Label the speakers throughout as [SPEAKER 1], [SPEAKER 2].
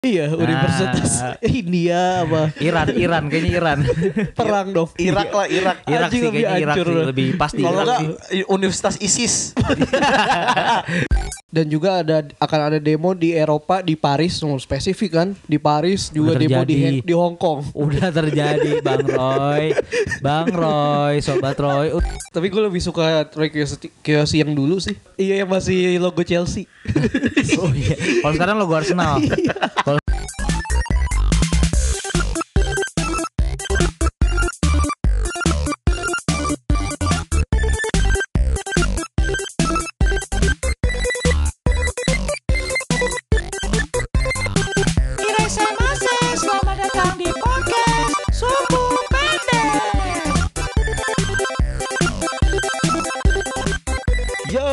[SPEAKER 1] ini ya
[SPEAKER 2] Nah.
[SPEAKER 1] universitas India apa
[SPEAKER 2] Iran, Iran, kayaknya Iran.
[SPEAKER 1] perang dong
[SPEAKER 3] Irak
[SPEAKER 2] Iya.
[SPEAKER 3] lah Irak.
[SPEAKER 2] Irak
[SPEAKER 1] Anjing
[SPEAKER 2] sih
[SPEAKER 1] lebih
[SPEAKER 2] kayaknya Irak
[SPEAKER 1] hancur
[SPEAKER 2] sih,
[SPEAKER 1] lu.
[SPEAKER 2] lebih pasti.
[SPEAKER 3] Kalau
[SPEAKER 2] Irak
[SPEAKER 3] enggak
[SPEAKER 2] sih.
[SPEAKER 3] Universitas ISIS.
[SPEAKER 1] dan juga ada akan ada demo di Eropa di Paris nomor spesifik kan di Paris juga
[SPEAKER 2] Udah
[SPEAKER 1] demo di
[SPEAKER 2] terjadi.
[SPEAKER 1] di Hong Kong
[SPEAKER 2] udah terjadi Bang Roy. Bang Roy, sobat Roy. Uh,
[SPEAKER 1] tapi gue lebih suka Roy Kiyoshi, Kiyoshi yang dulu sih iya yang masih logo Chelsea
[SPEAKER 2] Oh iya. Kalau sekarang logo Arsenal. Kalau
[SPEAKER 4] Irasamase, selamat datang di podcast Suku Pendek.
[SPEAKER 3] Yo,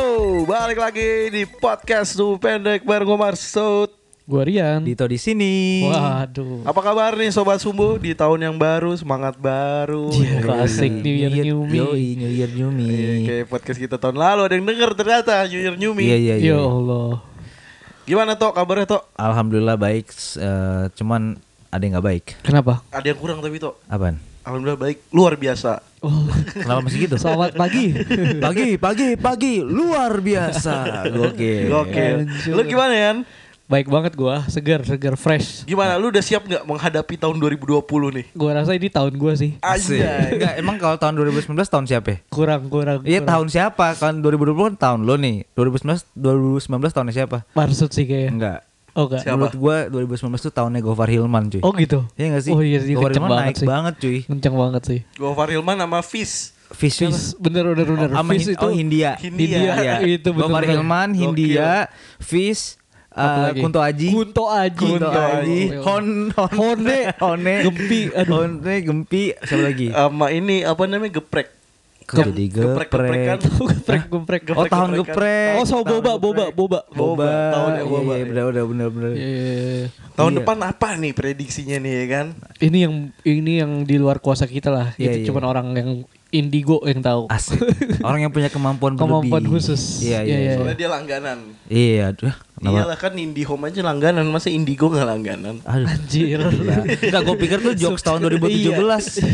[SPEAKER 3] balik lagi di podcast Suhu Pendek bareng gue Marsud.
[SPEAKER 1] gue Rian
[SPEAKER 2] Dito di sini.
[SPEAKER 1] waduh
[SPEAKER 3] Apa kabar nih Sobat Sumbu di tahun yang baru, semangat baru.
[SPEAKER 1] Iya, klasik New Year, New Me.
[SPEAKER 2] Yoi, New Year New Me.
[SPEAKER 3] Iya, Kayak podcast kita tahun lalu ada yang denger ternyata New Year New Me.
[SPEAKER 2] Iya, iya,
[SPEAKER 1] ya
[SPEAKER 2] iya.
[SPEAKER 1] Allah
[SPEAKER 3] Gimana Tok kabarnya Tok?
[SPEAKER 2] Alhamdulillah baik, s- eh, cuman ada yang nggak baik.
[SPEAKER 1] kenapa
[SPEAKER 3] Ada yang kurang tapi Tok.
[SPEAKER 2] Apaan?
[SPEAKER 3] Alhamdulillah baik, luar biasa.
[SPEAKER 1] oh.
[SPEAKER 2] Kenapa masih gitu?
[SPEAKER 1] selamat pagi
[SPEAKER 2] Pagi, pagi, pagi, luar biasa. Gokil.
[SPEAKER 3] Oke.
[SPEAKER 1] Anjir.
[SPEAKER 3] Lu gimana ya?
[SPEAKER 1] baik banget gue segar segar fresh
[SPEAKER 3] Gimana lu udah siap nggak menghadapi tahun 2020 nih?
[SPEAKER 1] gue rasa ini tahun gue sih
[SPEAKER 2] Asik.
[SPEAKER 3] Anjay.
[SPEAKER 2] Enggak, emang kalau tahun 2019 tahun siapa ya?
[SPEAKER 1] kurang kurang
[SPEAKER 2] Iya
[SPEAKER 1] kurang.
[SPEAKER 2] tahun siapa? Kan 2020 kan tahun lo nih. 2019 2019 tahunnya siapa?
[SPEAKER 1] Marsud sih kayaknya
[SPEAKER 2] Enggak.
[SPEAKER 1] oh enggak
[SPEAKER 3] Siapa?
[SPEAKER 2] Menurut gua 2019 tuh tahunnya Gofar Hilman cuy.
[SPEAKER 1] oh gitu
[SPEAKER 2] Iya enggak sih?
[SPEAKER 1] oh iya sih
[SPEAKER 2] Gofar
[SPEAKER 1] kenceng
[SPEAKER 2] Hilman
[SPEAKER 1] banget
[SPEAKER 2] naik
[SPEAKER 1] sih
[SPEAKER 2] banget cuy.
[SPEAKER 1] kenceng banget sih
[SPEAKER 3] Gofar Hilman sama Fis.
[SPEAKER 2] Fish, siapa?
[SPEAKER 1] Fis, bener bener iya, bener.
[SPEAKER 2] Oh, sama
[SPEAKER 1] Fis
[SPEAKER 2] Hin-
[SPEAKER 1] itu
[SPEAKER 2] oh, Hindia.
[SPEAKER 3] Hindia.
[SPEAKER 2] Iya.
[SPEAKER 1] itu bener.
[SPEAKER 2] Gofar Hilman,
[SPEAKER 3] Gokil.
[SPEAKER 2] Hindia, Fish,
[SPEAKER 1] Apa lagi?
[SPEAKER 2] eh Kunto Aji.
[SPEAKER 1] Kunto Aji.
[SPEAKER 2] Kunto Aji, Hon, Hon,
[SPEAKER 1] Hone.
[SPEAKER 2] Hone,
[SPEAKER 1] Gempi, aduh. Eh,
[SPEAKER 2] Hone, Gempi, siapa lagi?
[SPEAKER 3] Sama ini apa namanya geprek.
[SPEAKER 2] Kok jadi
[SPEAKER 3] geprek- geprekan.
[SPEAKER 2] geprek.
[SPEAKER 1] Geprek geprek.
[SPEAKER 2] Oh tahun
[SPEAKER 3] Geprek-geprekan.
[SPEAKER 2] geprek.
[SPEAKER 1] Oh, so boba boba boba.
[SPEAKER 3] Boba, tahun ya, boba.
[SPEAKER 2] Iya, bener, bener, bener, bener.
[SPEAKER 1] Iya.
[SPEAKER 3] Tahun
[SPEAKER 2] Iya.
[SPEAKER 3] depan apa nih prediksinya nih ya kan?
[SPEAKER 1] Ini yang ini yang di luar kuasa kita lah.
[SPEAKER 2] Iya,
[SPEAKER 1] Itu
[SPEAKER 2] iya.
[SPEAKER 1] cuman orang yang indigo yang tahu.
[SPEAKER 2] Asik. Orang yang punya kemampuan berlebih.
[SPEAKER 1] Kemampuan khusus.
[SPEAKER 2] Iya, iya.
[SPEAKER 1] Iya,
[SPEAKER 3] Soalnya dia langganan.
[SPEAKER 2] Iya, aduh. kenapa?
[SPEAKER 3] Iyalah kan Indihome aja langganan, masa Indigo nggak langganan?
[SPEAKER 2] Aduh.
[SPEAKER 1] Anjir.
[SPEAKER 2] Gila. Enggak gue pikir tuh jokes tahun 2017
[SPEAKER 1] Iya.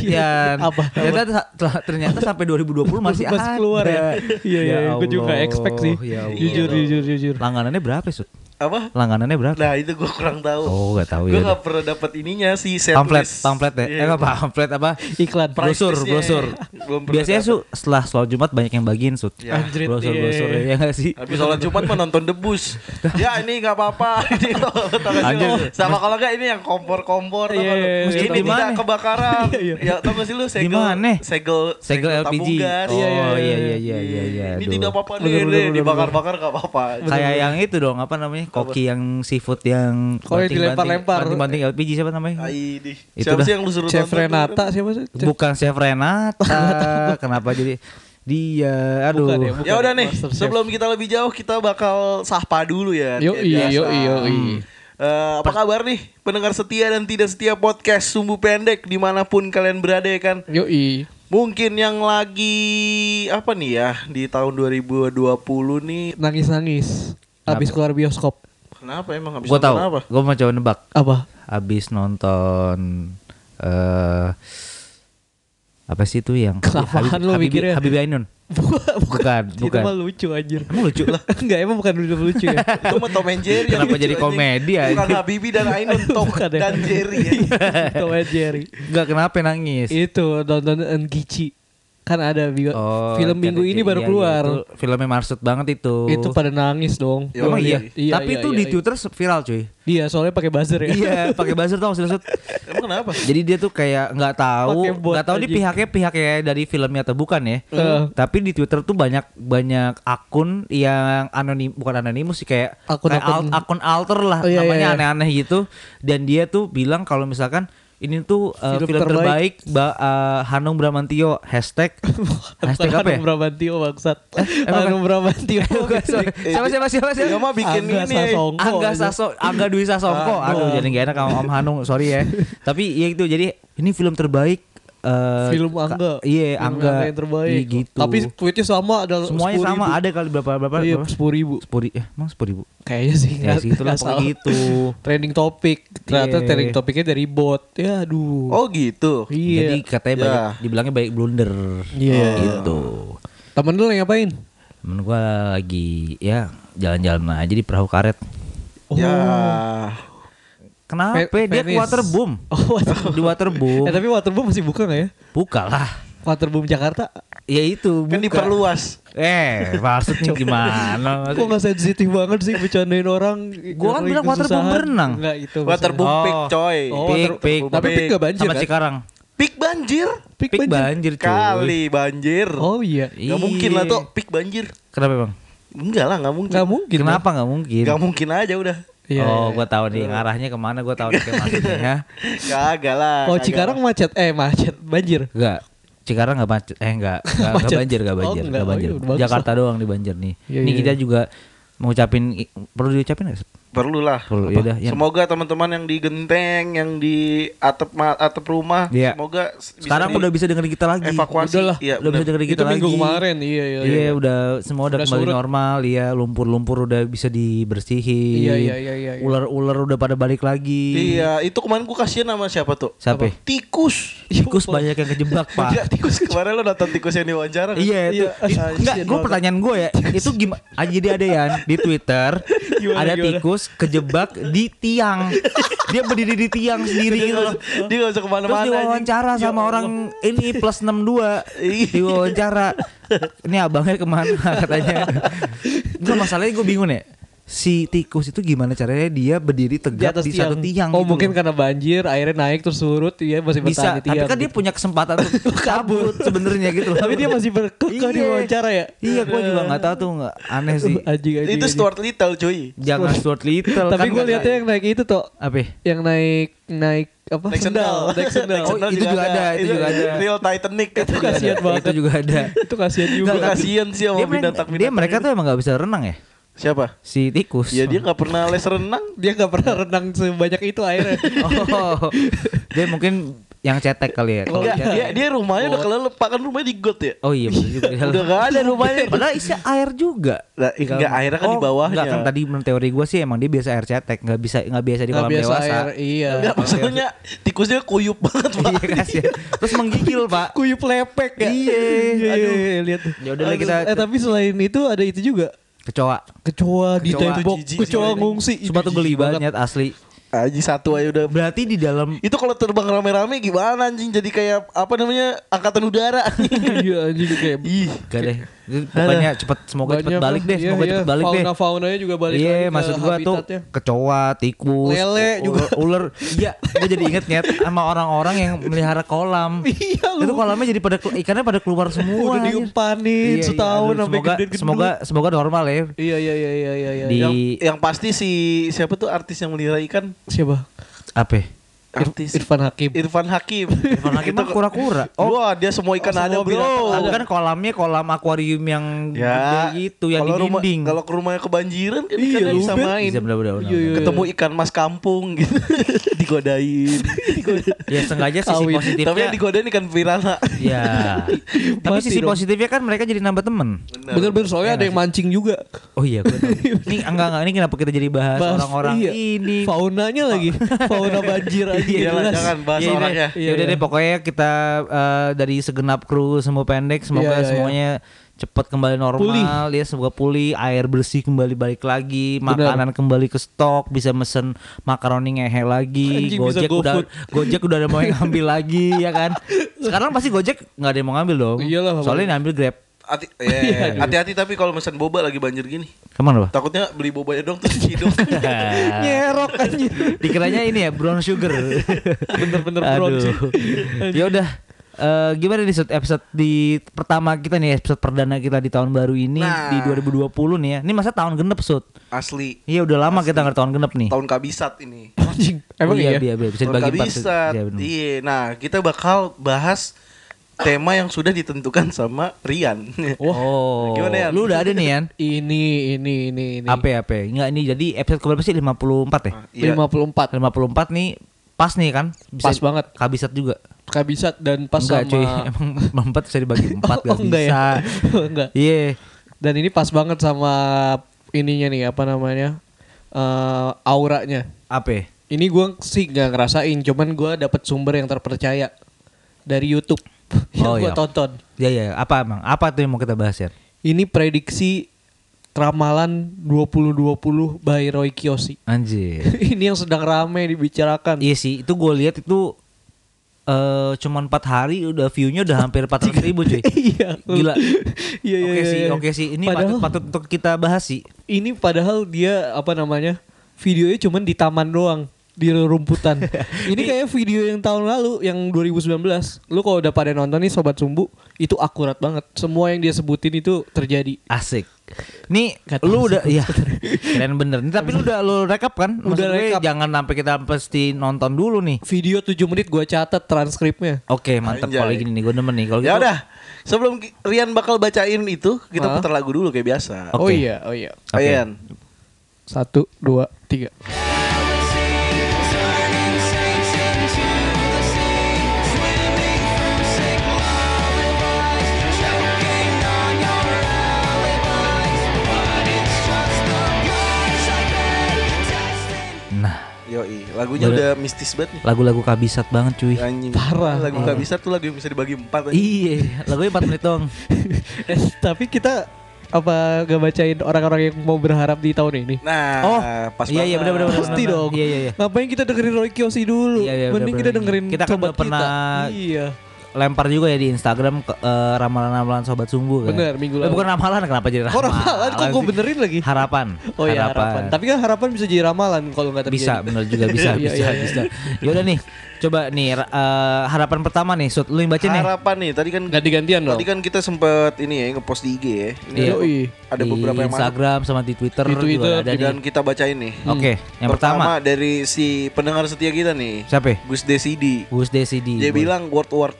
[SPEAKER 2] ya.
[SPEAKER 1] Apa?
[SPEAKER 2] Ternyata ternyata sampai 2020 masih
[SPEAKER 1] Masih
[SPEAKER 2] ada.
[SPEAKER 1] keluar ya? Iya, iya, iya. Gua juga nggak
[SPEAKER 2] Allah,
[SPEAKER 1] expect sih.
[SPEAKER 2] ya Allah.
[SPEAKER 1] Jujur, jujur, jujur.
[SPEAKER 2] Langganannya berapa, Sud?
[SPEAKER 3] Apa?
[SPEAKER 2] Langganannya berapa?
[SPEAKER 3] Nah itu gue kurang tahu.
[SPEAKER 2] Oh, nggak tahu ya.
[SPEAKER 3] Gue nggak pernah dapat ininya si set
[SPEAKER 2] Pamflet,
[SPEAKER 3] list.
[SPEAKER 2] pamflet ya.
[SPEAKER 3] Iya.
[SPEAKER 2] Eh, apa pamflet apa?
[SPEAKER 1] Iklan.
[SPEAKER 3] Price
[SPEAKER 2] Brosur,
[SPEAKER 3] listnya
[SPEAKER 2] brosur.
[SPEAKER 3] belum pernah
[SPEAKER 2] Biasanya
[SPEAKER 3] dapet.
[SPEAKER 2] su setelah sholat Jumat banyak yang bagiin sud.
[SPEAKER 3] Ya.
[SPEAKER 1] Anjrit,
[SPEAKER 2] Brosur,
[SPEAKER 1] iya.
[SPEAKER 2] brosur ya nggak sih?
[SPEAKER 3] Habis sholat Jumat menonton debus. ya ini nggak apa-apa. Ini tau- tau nggak sih
[SPEAKER 2] Anjir.
[SPEAKER 3] lu? Sama kalau nggak ini yang kompor-kompor. tau
[SPEAKER 1] Iya,
[SPEAKER 3] nggak lu?
[SPEAKER 1] iya,
[SPEAKER 2] iya,
[SPEAKER 3] Ini
[SPEAKER 2] iya.
[SPEAKER 3] tidak
[SPEAKER 2] Dimana?
[SPEAKER 3] kebakaran.
[SPEAKER 1] Iya,
[SPEAKER 3] Ya tau gak sih lu segel
[SPEAKER 2] Dimana?
[SPEAKER 3] segel
[SPEAKER 2] Segel
[SPEAKER 3] tabung
[SPEAKER 2] LPG.
[SPEAKER 3] gas.
[SPEAKER 2] Oh
[SPEAKER 1] Iya, iya,
[SPEAKER 2] iya
[SPEAKER 1] iya.
[SPEAKER 2] iya iya iya. iya.
[SPEAKER 3] Ini
[SPEAKER 2] Aduh.
[SPEAKER 3] tidak apa-apa
[SPEAKER 1] Bener,
[SPEAKER 3] nih,
[SPEAKER 1] bener,
[SPEAKER 3] ini
[SPEAKER 1] bener,
[SPEAKER 3] dibakar-bakar nggak apa-apa.
[SPEAKER 2] Kayak yang itu dong apa namanya? Koki yang seafood
[SPEAKER 1] Oh,
[SPEAKER 2] yang
[SPEAKER 1] yang
[SPEAKER 2] banting-banting-
[SPEAKER 1] dilempar-lempar. Ah,
[SPEAKER 2] Banting-banting LPG siapa namanya?
[SPEAKER 3] Ai, di.
[SPEAKER 2] Itu
[SPEAKER 3] Siapa
[SPEAKER 2] dah.
[SPEAKER 3] sih yang lu suruh
[SPEAKER 1] Chef
[SPEAKER 3] nonton?
[SPEAKER 1] Renata siapa sih?
[SPEAKER 2] Bukan Chef Renata. Kenapa jadi dia aduh.
[SPEAKER 1] Bukan ya, bukan.
[SPEAKER 3] Ya udah nih,
[SPEAKER 1] Masterchef.
[SPEAKER 3] sebelum kita lebih jauh kita bakal sapa dulu ya.
[SPEAKER 1] Yo
[SPEAKER 3] kayak
[SPEAKER 1] iya
[SPEAKER 3] biasa.
[SPEAKER 1] yo iya.
[SPEAKER 2] Hmm.
[SPEAKER 3] Eh, apa kabar nih pendengar setia dan tidak setia podcast Sumbu Pendek dimanapun kalian berada ya kan
[SPEAKER 1] Yo iya.
[SPEAKER 3] Mungkin yang lagi apa nih ya di tahun 2020 nih
[SPEAKER 1] Nangis nangis. Abis keluar bioskop.
[SPEAKER 3] Kenapa emang habis
[SPEAKER 2] Gua tahu.
[SPEAKER 3] nonton apa?
[SPEAKER 2] Gua mau coba nebak.
[SPEAKER 1] Apa?
[SPEAKER 2] Habis nonton eh apa sih itu yang
[SPEAKER 1] Kelamaan lu mikirnya.
[SPEAKER 2] Habibie Ainun. Bukan,
[SPEAKER 1] Itu
[SPEAKER 2] bukan.
[SPEAKER 1] mah lucu anjir.
[SPEAKER 2] Emang lucu lah.
[SPEAKER 1] Enggak, emang bukan lucu lucu ya.
[SPEAKER 3] Itu mah Tom and Jerry yang
[SPEAKER 2] Kenapa
[SPEAKER 3] lucu,
[SPEAKER 2] jadi
[SPEAKER 3] anjing.
[SPEAKER 2] komedi, anjing?
[SPEAKER 3] Bukan Habibie dan Ainun Tom
[SPEAKER 1] Bukan ya.
[SPEAKER 3] dan Jerry ya.
[SPEAKER 1] Tom and Jerry.
[SPEAKER 2] Enggak kenapa nangis.
[SPEAKER 1] Itu nonton Enkici. Kan ada bio-
[SPEAKER 2] Oh,
[SPEAKER 1] film minggu
[SPEAKER 2] iya,
[SPEAKER 1] ini
[SPEAKER 2] iya,
[SPEAKER 1] baru
[SPEAKER 2] iya,
[SPEAKER 1] keluar.
[SPEAKER 2] itu filmnya Marsud banget itu.
[SPEAKER 1] itu pada nangis dong.
[SPEAKER 3] Ya,
[SPEAKER 2] Emang iya.
[SPEAKER 1] Iya,
[SPEAKER 2] Tapi
[SPEAKER 1] iya,
[SPEAKER 2] itu
[SPEAKER 1] iya,
[SPEAKER 2] di
[SPEAKER 1] iya.
[SPEAKER 2] Twitter viral cuy.
[SPEAKER 1] Dia soalnya pakai buzzer ya.
[SPEAKER 2] Iya, pakai buzzer tau maksudnya Sud?
[SPEAKER 3] Emang kenapa?
[SPEAKER 2] Jadi dia tuh kayak nggak tahu,
[SPEAKER 1] Pakai bot
[SPEAKER 2] nggak tahu di
[SPEAKER 1] aja. Iya.
[SPEAKER 2] pihaknya pihaknya dari filmnya atau bukan ya.
[SPEAKER 1] Heeh.
[SPEAKER 2] Tapi di Twitter tuh banyak banyak akun yang anonim bukan anonimus sih kayak
[SPEAKER 1] Akun-
[SPEAKER 2] kayak
[SPEAKER 1] akun-
[SPEAKER 2] al- akun alter lah
[SPEAKER 1] Oh, iya,
[SPEAKER 2] namanya
[SPEAKER 1] iya, iya.
[SPEAKER 2] aneh-aneh gitu dan dia tuh bilang kalau misalkan ini tuh uh,
[SPEAKER 1] Film
[SPEAKER 2] film, terbaik, Ba- uh, Hanung Bramantio hashtag hashtag
[SPEAKER 1] Bukan
[SPEAKER 2] apa ya? Eh,
[SPEAKER 1] Hanung Bramantio Eh, bangsat.
[SPEAKER 2] emang
[SPEAKER 1] Hanung Bramantio.
[SPEAKER 2] Bukan, sorry. siapa siapa siapa siapa?
[SPEAKER 3] Dia mah bikin
[SPEAKER 1] ya. Angga
[SPEAKER 3] ini
[SPEAKER 1] Sasongko.
[SPEAKER 2] Angga
[SPEAKER 1] aja.
[SPEAKER 2] Saso, Angga Dwi Sasongko. Aduh, jadi gak enak sama Om Hanung, sorry ya. Tapi ya itu jadi ini film terbaik eh,
[SPEAKER 1] Film
[SPEAKER 2] ka-
[SPEAKER 1] Angga.
[SPEAKER 2] Iya,
[SPEAKER 1] Film
[SPEAKER 2] Angga.
[SPEAKER 1] yang terbaik.
[SPEAKER 2] Iya, gitu.
[SPEAKER 1] Tapi tweetnya sama ada
[SPEAKER 2] semuanya sama ada kali berapa berapa?
[SPEAKER 1] Iya,
[SPEAKER 2] berapa?
[SPEAKER 1] 10 ribu.
[SPEAKER 2] sepuluh ri- eh, emang sepuluh ribu
[SPEAKER 1] Kayaknya sih
[SPEAKER 2] ya
[SPEAKER 1] nggak-
[SPEAKER 2] segitu lah
[SPEAKER 1] nggak
[SPEAKER 2] pokoknya
[SPEAKER 1] salah.
[SPEAKER 2] gitu
[SPEAKER 1] Trending topic. Ternyata
[SPEAKER 2] Iya.
[SPEAKER 1] trending topicnya dari bot. Ya aduh.
[SPEAKER 3] Oh gitu.
[SPEAKER 1] iya.
[SPEAKER 2] jadi katanya banyak,
[SPEAKER 3] Ya.
[SPEAKER 2] dibilangnya banyak blunder
[SPEAKER 1] Iya.
[SPEAKER 2] gitu
[SPEAKER 1] Temen lu yang ngapain?
[SPEAKER 2] temen gua lagi ya jalan-jalan aja di perahu karet
[SPEAKER 1] Oh.
[SPEAKER 3] Ya.
[SPEAKER 2] kenapa
[SPEAKER 1] Ve-
[SPEAKER 2] dia
[SPEAKER 1] Venice.
[SPEAKER 2] waterboom
[SPEAKER 1] Oh, waterboom.
[SPEAKER 2] di waterboom
[SPEAKER 1] Eh tapi Waterboom masih buka gak ya?
[SPEAKER 2] buka lah
[SPEAKER 1] Waterboom Jakarta
[SPEAKER 2] ya itu
[SPEAKER 3] Kan
[SPEAKER 2] buka.
[SPEAKER 3] diperluas.
[SPEAKER 2] eh maksudnya gimana
[SPEAKER 1] Kok gak sensitif banget sih bercandain orang
[SPEAKER 2] Gua kan
[SPEAKER 1] lagi
[SPEAKER 2] bilang waterboom
[SPEAKER 1] kesusahan?
[SPEAKER 2] berenang.
[SPEAKER 1] Enggak itu
[SPEAKER 3] Waterboom
[SPEAKER 2] Oh.
[SPEAKER 3] pick coy.
[SPEAKER 1] Oh,
[SPEAKER 2] Pik,
[SPEAKER 1] water-
[SPEAKER 2] pik,
[SPEAKER 1] Tapi pik gak banjir
[SPEAKER 2] sama
[SPEAKER 1] kan?
[SPEAKER 2] Cikarang
[SPEAKER 3] Pik banjir.
[SPEAKER 1] Pik
[SPEAKER 2] pik
[SPEAKER 1] banjir.
[SPEAKER 2] banjir cuy.
[SPEAKER 3] Kali banjir.
[SPEAKER 1] Oh iya
[SPEAKER 3] Gak mungkin lah tuh pik banjir.
[SPEAKER 2] kenapa bang
[SPEAKER 3] Enggak lah, nggak mungkin.
[SPEAKER 1] Gak mungkin
[SPEAKER 2] kenapa nggak mungkin
[SPEAKER 3] Gak mungkin aja udah.
[SPEAKER 1] Iya,
[SPEAKER 2] oh,
[SPEAKER 1] iya.
[SPEAKER 2] gua tahu nih arahnya kemana, gua tahu nih kayak maksudnya ya.
[SPEAKER 3] Kagak lah.
[SPEAKER 1] Oh
[SPEAKER 3] kagak
[SPEAKER 1] Cikarang
[SPEAKER 3] lah.
[SPEAKER 1] macet Eh macet Banjir
[SPEAKER 2] Enggak. Cikarang enggak macet, eh enggak, enggak, enggak
[SPEAKER 1] Macet.
[SPEAKER 2] banjir, enggak
[SPEAKER 1] Oh,
[SPEAKER 2] banjir,
[SPEAKER 1] enggak.
[SPEAKER 2] enggak banjir.
[SPEAKER 1] Oh, iya, bagus
[SPEAKER 2] Jakarta doang di banjir nih.
[SPEAKER 1] Iya,
[SPEAKER 2] Ini
[SPEAKER 1] iya.
[SPEAKER 2] kita juga mau ucapin i- perlu diucapin enggak?
[SPEAKER 3] perlu lah.
[SPEAKER 2] Perlu ya udah. Yan.
[SPEAKER 3] Semoga teman-teman yang di genteng, yang di atap ma- atap rumah,
[SPEAKER 2] Iya.
[SPEAKER 3] semoga s- bisa
[SPEAKER 2] Sekarang
[SPEAKER 3] di-
[SPEAKER 2] udah bisa dengerin kita lagi.
[SPEAKER 3] evakuasi.
[SPEAKER 1] Udah lah.
[SPEAKER 3] Iya,
[SPEAKER 2] udah bisa
[SPEAKER 3] bener.
[SPEAKER 2] dengerin
[SPEAKER 1] Itu
[SPEAKER 2] kita lagi.
[SPEAKER 1] minggu kemarin Iya iya
[SPEAKER 2] Iya,
[SPEAKER 1] iya
[SPEAKER 2] udah semua udah,
[SPEAKER 1] Udah
[SPEAKER 2] kembali
[SPEAKER 1] surut.
[SPEAKER 2] normal, ya lumpur-lumpur udah bisa dibersihin.
[SPEAKER 1] Iya, iya, iya, iya, iya.
[SPEAKER 2] Ular-ular udah pada balik lagi.
[SPEAKER 3] Iya, itu kemarin gue kasihan sama siapa tuh?
[SPEAKER 2] Siapa?
[SPEAKER 3] Tikus.
[SPEAKER 1] Iya.
[SPEAKER 2] Tikus banyak yang kejebak, Pak.
[SPEAKER 3] Iya, tikus kemarin lo nonton tikus yang diwawancara.
[SPEAKER 2] Iya itu.
[SPEAKER 1] Iya,
[SPEAKER 2] Ih,
[SPEAKER 1] kasihan
[SPEAKER 2] Enggak, gue
[SPEAKER 1] banget.
[SPEAKER 2] pertanyaan gue ya, itu gimana? Ah, jadi ada ya di Twitter
[SPEAKER 1] Gimana,
[SPEAKER 2] ada
[SPEAKER 1] gimana?
[SPEAKER 2] tikus kejebak di tiang. Dia berdiri di tiang sendiri
[SPEAKER 3] Dia
[SPEAKER 2] gitu loh.
[SPEAKER 3] nggak- Dia gak usah
[SPEAKER 2] Terus
[SPEAKER 3] kemana-mana.
[SPEAKER 2] diwawancara
[SPEAKER 3] anjing.
[SPEAKER 2] sama
[SPEAKER 3] Ya
[SPEAKER 2] orang ini plus 62
[SPEAKER 3] Iya.
[SPEAKER 2] Diwawancara Ini abangnya kemana katanya Enggak masalahnya gue bingung ya Si tikus itu gimana caranya dia berdiri
[SPEAKER 1] Di
[SPEAKER 2] tegak
[SPEAKER 1] atas
[SPEAKER 2] di, satu tiang
[SPEAKER 1] Oh
[SPEAKER 2] gitu
[SPEAKER 1] mungkin
[SPEAKER 2] loh.
[SPEAKER 1] karena banjir Airnya naik terus surut Iya masih
[SPEAKER 2] bisa
[SPEAKER 1] bertahan di tiang
[SPEAKER 2] tapi kan dia
[SPEAKER 1] gitu.
[SPEAKER 2] punya kesempatan untuk kabur sebenarnya gitu loh
[SPEAKER 1] Tapi dia masih berkekeh di
[SPEAKER 2] Iya.
[SPEAKER 1] wawancara ya
[SPEAKER 2] Iya, gua juga nggak tahu tuh nggak aneh sih.
[SPEAKER 1] Anjing anjing
[SPEAKER 2] iya,
[SPEAKER 3] Itu
[SPEAKER 1] anjing.
[SPEAKER 3] Stuart Little cuy.
[SPEAKER 2] Jangan Stuart Little.
[SPEAKER 1] Tapi
[SPEAKER 2] kan
[SPEAKER 1] gue
[SPEAKER 2] nggak-
[SPEAKER 1] liatnya yang naik itu tuh
[SPEAKER 2] apa? ya?
[SPEAKER 1] Yang naik Naik apa
[SPEAKER 3] Naik sendal.
[SPEAKER 1] Naik sendal
[SPEAKER 2] Oh, itu juga ada, itu juga ada.
[SPEAKER 3] Real Titanic
[SPEAKER 1] Itu kasihan
[SPEAKER 2] ada,
[SPEAKER 1] banget
[SPEAKER 2] Iya, itu juga ada.
[SPEAKER 1] Itu kasihan juga
[SPEAKER 3] Nggak,
[SPEAKER 1] Tapi-
[SPEAKER 3] kasihan sih sama
[SPEAKER 2] Dia, mereka-
[SPEAKER 3] binatang-binatang
[SPEAKER 2] dia mereka tuh emang nggak bisa renang ya?
[SPEAKER 3] Siapa?
[SPEAKER 2] Si tikus.
[SPEAKER 1] Iya,
[SPEAKER 3] Ya dia gak pernah les renang.
[SPEAKER 1] dia nggak pernah renang sebanyak itu airnya.
[SPEAKER 2] Oh. dia mungkin yang cetek kali ya. Kalau
[SPEAKER 3] Enggak,
[SPEAKER 2] cetek-
[SPEAKER 3] dia, dia rumahnya udah kelelep, kan rumahnya di got ya.
[SPEAKER 2] Oh iya, bener juga.
[SPEAKER 3] Udah gak ada rumahnya.
[SPEAKER 2] Padahal isi air juga.
[SPEAKER 3] Lah, ih, enggak, airnya kan di bawahnya.
[SPEAKER 2] Enggak kan tadi menurut teori gue sih emang dia biasa air cetek, nggak bisa nggak biasa di
[SPEAKER 1] Nggak
[SPEAKER 2] kolam
[SPEAKER 1] biasa
[SPEAKER 2] dewasa.
[SPEAKER 1] air, iya.
[SPEAKER 3] Enggak, maksudnya tikusnya kuyup banget, Pak.
[SPEAKER 2] Iya kasihan. Terus menggigil, Pak.
[SPEAKER 1] Kuyup lepek ya.
[SPEAKER 2] Iya.
[SPEAKER 1] Iya, iya,
[SPEAKER 2] Aduh.
[SPEAKER 1] iya, lihat.
[SPEAKER 2] Ya udahlah,
[SPEAKER 1] Aduh.
[SPEAKER 2] kita-
[SPEAKER 1] Eh tapi selain itu ada itu juga
[SPEAKER 2] Kecoa.
[SPEAKER 1] kecoa di
[SPEAKER 3] Kecoa.
[SPEAKER 1] tembok,
[SPEAKER 3] Itu jijik sih,
[SPEAKER 1] kecoa
[SPEAKER 3] itu.
[SPEAKER 1] ngungsi.
[SPEAKER 2] Cuma tuh geli
[SPEAKER 1] banget.
[SPEAKER 2] banget asli.
[SPEAKER 3] Aji satu aja udah.
[SPEAKER 2] Berarti di dalam
[SPEAKER 3] Itu kalau terbang rame-rame gimana anjing jadi kayak apa namanya? Angkatan udara.
[SPEAKER 1] Iya anjing kayak
[SPEAKER 3] Ih.
[SPEAKER 2] Gak deh. Pokoknya cepet semoga cepet
[SPEAKER 1] banyak
[SPEAKER 2] balik deh,
[SPEAKER 1] iya,
[SPEAKER 2] semoga
[SPEAKER 1] iya.
[SPEAKER 2] cepet balik deh.
[SPEAKER 1] Fauna-faunanya juga balik
[SPEAKER 2] Iya,
[SPEAKER 1] lagi ke
[SPEAKER 2] maksud gua tuh
[SPEAKER 1] habitatnya.
[SPEAKER 2] kecoa, tikus,
[SPEAKER 1] Lele
[SPEAKER 2] u-
[SPEAKER 1] juga.
[SPEAKER 2] u- ular. Iya, gua jadi inget nyet sama orang-orang yang melihara kolam.
[SPEAKER 1] Iya, lu.
[SPEAKER 2] Itu kolamnya jadi pada kelu- ikannya pada keluar semua.
[SPEAKER 1] Udah
[SPEAKER 2] anjir.
[SPEAKER 1] diumpanin
[SPEAKER 2] Iya, iya,
[SPEAKER 1] setahun
[SPEAKER 2] aduh,
[SPEAKER 1] sampai
[SPEAKER 2] semoga
[SPEAKER 1] gede-gede.
[SPEAKER 2] semoga semoga normal ya.
[SPEAKER 1] Iya iya iya iya iya. iya.
[SPEAKER 2] Di
[SPEAKER 3] Yang, yang pasti si siapa tuh artis yang melihara ikan?
[SPEAKER 1] Siapa?
[SPEAKER 2] apa? ya?
[SPEAKER 3] Artis
[SPEAKER 1] Irfan Hakim.
[SPEAKER 3] Irfan Hakim.
[SPEAKER 2] Irfan Hakim mah kura-kura.
[SPEAKER 3] Oh, Wah, dia semua ikan ada,
[SPEAKER 1] semua
[SPEAKER 3] Bro.
[SPEAKER 1] binatang
[SPEAKER 2] Tapi kan kolamnya kolam akuarium yang
[SPEAKER 3] Ya,
[SPEAKER 2] gede gitu yang di
[SPEAKER 3] kalau rumah-
[SPEAKER 2] dinding.
[SPEAKER 3] Kalau ke rumahnya kebanjiran kan
[SPEAKER 1] Iya,
[SPEAKER 3] ikannya
[SPEAKER 1] lu,
[SPEAKER 3] bisa
[SPEAKER 1] Ben.
[SPEAKER 3] main.
[SPEAKER 2] Bisa benar-benar.
[SPEAKER 1] Iya, iya.
[SPEAKER 3] Ketemu ikan mas kampung gitu. Digodain.
[SPEAKER 2] Ya sengaja sisi
[SPEAKER 1] Kawin.
[SPEAKER 2] positifnya.
[SPEAKER 3] Tapi yang digodain ikan piranha.
[SPEAKER 2] Ya. Tapi
[SPEAKER 1] Mati
[SPEAKER 2] sisi
[SPEAKER 1] dong.
[SPEAKER 2] positifnya kan mereka jadi nambah temen.
[SPEAKER 1] Bener-bener
[SPEAKER 2] Iya,
[SPEAKER 1] soalnya ada yang mancing juga.
[SPEAKER 2] Oh iya, gue tahu. ini enggak enggak ini kenapa kita jadi bahas
[SPEAKER 1] Bahas-
[SPEAKER 2] orang-orang
[SPEAKER 1] iya.
[SPEAKER 2] ini?
[SPEAKER 1] faunanya lagi fauna banjir aja
[SPEAKER 3] Iya lah,
[SPEAKER 1] jelas.
[SPEAKER 3] jangan bahas
[SPEAKER 2] Ya udah,
[SPEAKER 3] orangnya.
[SPEAKER 2] ya udah
[SPEAKER 1] Iya,
[SPEAKER 2] deh pokoknya kita eh, dari segenap kru semua pendek semoga
[SPEAKER 1] Iya, iya,
[SPEAKER 2] semuanya cepat kembali normal ya semoga pulih air bersih kembali balik lagi makanan kembali ke stok bisa mesen makaroni ngehe lagi
[SPEAKER 1] Anjing, bisa
[SPEAKER 2] gojek udah
[SPEAKER 1] GoFood.
[SPEAKER 2] gojek udah ada mau yang ngambil lagi ya kan sekarang pasti gojek nggak ada yang mau ngambil dong
[SPEAKER 1] Iyalah,
[SPEAKER 2] soalnya yang ngambil grab
[SPEAKER 3] Hati-
[SPEAKER 2] Iya,
[SPEAKER 3] eh, Hati-hati tapi kalau mesen boba lagi banjir gini.
[SPEAKER 2] kemana pak
[SPEAKER 3] Takutnya beli bobanya dong terus hidung.
[SPEAKER 1] nyerok aja
[SPEAKER 2] Dikiranya ini ya brown sugar.
[SPEAKER 1] Bener-bener brown
[SPEAKER 2] Aduh.
[SPEAKER 1] sih.
[SPEAKER 2] Ya udah. Eh, gimana nih Sud, episode di pertama kita nih episode perdana kita di tahun baru ini
[SPEAKER 3] Nah.
[SPEAKER 2] di 2020 nih ya. Ini masa tahun genep Sud.
[SPEAKER 3] Asli
[SPEAKER 2] Iya udah lama kita nggak tahun genep nih.
[SPEAKER 3] tahun kabisat ini.
[SPEAKER 1] anjing emang iya,
[SPEAKER 2] iya, iya, bisa
[SPEAKER 3] Tahun
[SPEAKER 2] dibagi empat. Sud.
[SPEAKER 3] kabisat.
[SPEAKER 2] Iya, bener.
[SPEAKER 3] Iya. Nah, kita bakal bahas tema yang sudah ditentukan sama Rian.
[SPEAKER 2] Oh.
[SPEAKER 1] ya?
[SPEAKER 3] Gimana, Yan?
[SPEAKER 2] Lu udah ada nih Yan.
[SPEAKER 1] ini ini ini ini
[SPEAKER 2] Apa ya, apa? ya? Nggak ini jadi episode keberapa sih 54 ya?
[SPEAKER 3] Iya.
[SPEAKER 1] 54
[SPEAKER 2] 54 nih pas nih kan
[SPEAKER 1] Ah. Pas banget.
[SPEAKER 2] kabisat juga
[SPEAKER 1] kabisat dan pas sama
[SPEAKER 2] enggak cuy emang empat bisa dibagi empat
[SPEAKER 1] Oh,
[SPEAKER 2] gak
[SPEAKER 1] enggak ya?
[SPEAKER 2] bisa
[SPEAKER 1] Enggak.
[SPEAKER 2] iya
[SPEAKER 1] dan ini pas banget sama ininya nih apa namanya eh auranya
[SPEAKER 2] apa ya?
[SPEAKER 1] ini gua sih nggak ngerasain cuman gua dapet sumber yang terpercaya dari YouTube yang
[SPEAKER 2] Oh,
[SPEAKER 1] gua
[SPEAKER 2] iya.
[SPEAKER 1] tonton
[SPEAKER 2] ya ya apa emang apa tuh yang mau kita bahas ya
[SPEAKER 1] ini prediksi ramalan 2020 by Roy Kiyoshi
[SPEAKER 2] anjir
[SPEAKER 1] ini yang sedang rame dibicarakan
[SPEAKER 2] Iya sih, itu gue lihat itu eh cuman 4 hari udah view-nya udah hampir 400 ribu cuy.
[SPEAKER 1] Iya.
[SPEAKER 2] Gila.
[SPEAKER 1] Iya, iya,
[SPEAKER 2] Oke
[SPEAKER 1] iya,
[SPEAKER 2] sih,
[SPEAKER 1] iya.
[SPEAKER 2] oke sih. Ini
[SPEAKER 1] Padahal-
[SPEAKER 2] patut, patut untuk kita bahas sih.
[SPEAKER 1] ini padahal dia apa namanya videonya cuman di taman doang di rumputan ini kayak video yang tahun lalu yang 2019 lu kalau udah pada nonton nih sobat sumbu itu akurat banget semua yang dia sebutin itu terjadi
[SPEAKER 2] Asik. Nih,
[SPEAKER 1] Nggak tahu
[SPEAKER 2] lu
[SPEAKER 1] sih,
[SPEAKER 2] udah ya keren bener. Nih, tapi lu udah lu rekap kan? Maksud
[SPEAKER 1] Udah
[SPEAKER 2] gue,
[SPEAKER 1] rekap.
[SPEAKER 2] Jangan sampai kita pasti nonton dulu nih.
[SPEAKER 1] video 7 menit gua catat transkripnya
[SPEAKER 2] Oke, mantap
[SPEAKER 3] Anjay.
[SPEAKER 2] kalau gini nih, gue demen nih. Kalau gitu,
[SPEAKER 3] Ya udah, sebelum Ki- Rian bakal bacain itu, kita
[SPEAKER 1] Hah?
[SPEAKER 3] putar lagu dulu kayak biasa.
[SPEAKER 2] Oke.
[SPEAKER 1] oh iya oh iya
[SPEAKER 2] Oke.
[SPEAKER 3] Rian,
[SPEAKER 1] satu dua tiga
[SPEAKER 2] Nah,
[SPEAKER 3] yoi, lagunya
[SPEAKER 2] Boleh.
[SPEAKER 3] udah mistis banget nih.
[SPEAKER 2] lagu-lagu kabisat banget cuy.
[SPEAKER 3] Anjing.
[SPEAKER 1] Parah.
[SPEAKER 3] Lagu nggak bisa tuh lagu yang bisa dibagi empat. anjing.
[SPEAKER 2] Iya, lagunya 4 menit doang.
[SPEAKER 1] Eh, tapi kita apa gak bacain orang-orang yang mau berharap di tahun ini
[SPEAKER 3] Nah,
[SPEAKER 2] Oh,
[SPEAKER 3] pas
[SPEAKER 2] iya, iya,
[SPEAKER 3] banget.
[SPEAKER 2] bener-bener, bener-bener.
[SPEAKER 1] Pasti
[SPEAKER 2] benar.
[SPEAKER 1] dong.
[SPEAKER 2] Iya, iya, iya.
[SPEAKER 1] Ngapain kita dengerin Roy Kiyoshi dulu?
[SPEAKER 2] Iya, iya,
[SPEAKER 1] Mending kita
[SPEAKER 2] benar-benar.
[SPEAKER 1] dengerin
[SPEAKER 2] Kita kan
[SPEAKER 1] sobat
[SPEAKER 2] udah pernah
[SPEAKER 1] Iya.
[SPEAKER 2] Lempar juga ya di Instagram ke- eh, ramalan-ramalan sobat sumbu kan.
[SPEAKER 1] Bener, minggu
[SPEAKER 2] Eh,
[SPEAKER 1] lalu.
[SPEAKER 2] bukan ramalan kenapa jadi
[SPEAKER 1] Kok
[SPEAKER 2] ramalan?
[SPEAKER 1] ramalan? Kok gue
[SPEAKER 2] sih?
[SPEAKER 1] benerin lagi?
[SPEAKER 2] Harapan.
[SPEAKER 1] Oh iya harapan. Tapi kan harapan bisa jadi ramalan kalau nggak terjadi.
[SPEAKER 2] bisa bener juga bisa
[SPEAKER 1] Iya,
[SPEAKER 2] bisa
[SPEAKER 1] iya, iya.
[SPEAKER 2] bisa. Yaudah nih, coba nih ra- eh, harapan pertama nih, Sud, lu yang baca nih.
[SPEAKER 3] Harapan nih, tadi kan
[SPEAKER 1] Ganti-gantian dong.
[SPEAKER 3] tadi kan kita sempet ini ya ngepost di IG ya. Ini
[SPEAKER 1] Iya.
[SPEAKER 3] ada-
[SPEAKER 1] Yoi.
[SPEAKER 3] ada beberapa
[SPEAKER 2] di
[SPEAKER 3] yang masuk
[SPEAKER 2] Instagram sama di Twitter,
[SPEAKER 1] Di Twitter, Hmm.
[SPEAKER 2] juga ada
[SPEAKER 1] di-
[SPEAKER 2] nih.
[SPEAKER 3] dan kita bacain nih.
[SPEAKER 2] Oke, yang pertama,
[SPEAKER 3] dari si pendengar setia kita nih.
[SPEAKER 2] siapa? ya?
[SPEAKER 3] Gus Desidi.
[SPEAKER 2] Gus Desidi.
[SPEAKER 1] Iya.
[SPEAKER 3] Dia bilang word word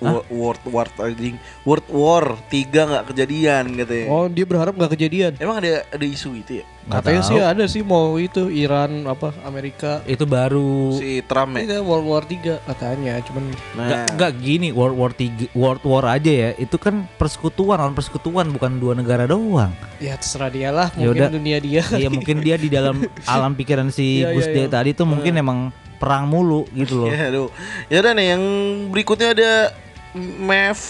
[SPEAKER 3] Word word word anjing. Word war tiga nggak kejadian katanya.
[SPEAKER 1] Oh dia berharap nggak kejadian.
[SPEAKER 3] Emang ada ada isu itu ya?
[SPEAKER 2] Nggak
[SPEAKER 1] Katanya
[SPEAKER 2] tahu.
[SPEAKER 1] sih ada sih mau itu Iran apa Amerika.
[SPEAKER 2] itu baru
[SPEAKER 3] Si Trump ya.
[SPEAKER 1] Ini
[SPEAKER 3] Nah,
[SPEAKER 1] World War 3 katanya. Cuman
[SPEAKER 2] Nggak, nggak gini World War 3, World War aja ya. Itu kan persekutuan, lawan persekutuan bukan dua negara doang.
[SPEAKER 1] ya terserah dia lah.
[SPEAKER 2] Ya
[SPEAKER 1] Mungkin
[SPEAKER 2] udah.
[SPEAKER 1] dunia dia.
[SPEAKER 2] Iya, mungkin dia di dalam alam pikiran si
[SPEAKER 1] Iya,
[SPEAKER 2] Gus
[SPEAKER 1] iya,
[SPEAKER 2] De
[SPEAKER 1] iya.
[SPEAKER 2] tadi tuh mungkin emang perang mulu gitu loh.
[SPEAKER 3] Ya, aduh. Ya udah nih yang berikutnya ada Mev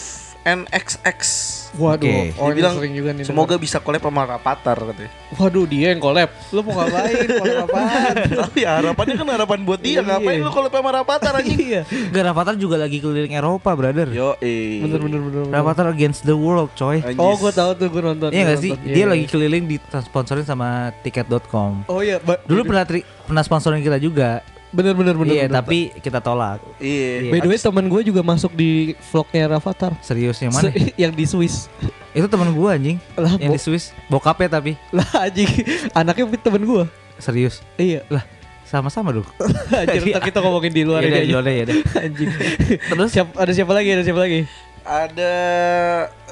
[SPEAKER 3] NXX.
[SPEAKER 1] Waduh.
[SPEAKER 2] Oke.
[SPEAKER 1] Oh
[SPEAKER 3] Dia
[SPEAKER 1] ini
[SPEAKER 3] bilang
[SPEAKER 1] sering juga nih.
[SPEAKER 3] semoga bisa collab sama Rapatar katanya.
[SPEAKER 1] dengar. Waduh dia yang collab. Lu mau ngapain? Collab apaan?
[SPEAKER 3] Tapi ya harapannya kan harapan buat dia,
[SPEAKER 1] Iya.
[SPEAKER 3] ngapain lu collab sama Rapatar anjing?
[SPEAKER 1] Iya.
[SPEAKER 2] Gak Rafathar juga lagi keliling Eropa, brother.
[SPEAKER 3] Yo, eh.
[SPEAKER 1] Bener bener bener. bener.
[SPEAKER 2] Rafathar against the world, coy.
[SPEAKER 3] Anjis.
[SPEAKER 1] Oh gue tahu tuh gue nonton.
[SPEAKER 2] Iya
[SPEAKER 1] gua
[SPEAKER 2] gak sih?
[SPEAKER 1] nonton.
[SPEAKER 2] Dia
[SPEAKER 1] Iya,
[SPEAKER 2] lagi
[SPEAKER 1] iya.
[SPEAKER 2] keliling disponsorin sama tiket.com.
[SPEAKER 1] Oh iya. ba-
[SPEAKER 2] Dulu pernah tri- pernah sponsorin kita juga.
[SPEAKER 1] bener bener bener.
[SPEAKER 2] Iya,
[SPEAKER 1] bener.
[SPEAKER 2] tapi kita tolak.
[SPEAKER 3] Iya.
[SPEAKER 1] By the way teman gue juga masuk di vlognya Rafathar.
[SPEAKER 2] Seriusnya mana?
[SPEAKER 1] Se- yang di Swiss.
[SPEAKER 2] Itu teman gua anjing.
[SPEAKER 1] Lah,
[SPEAKER 2] yang
[SPEAKER 1] bo-
[SPEAKER 2] di Swiss. Bokapnya tapi
[SPEAKER 1] Lah anjing, anaknya temen gue.
[SPEAKER 2] serius.
[SPEAKER 1] Iya.
[SPEAKER 2] Lah, sama-sama dong.
[SPEAKER 1] Anjir, ntar
[SPEAKER 2] Iya.
[SPEAKER 1] kita ngomongin di luar ini
[SPEAKER 2] Yaudah, di
[SPEAKER 1] aja.
[SPEAKER 2] luar aja, yaudah.
[SPEAKER 1] Anjing.
[SPEAKER 2] iya, Terus?
[SPEAKER 1] Siap- ada siapa lagi? Ada siapa lagi?
[SPEAKER 3] Ada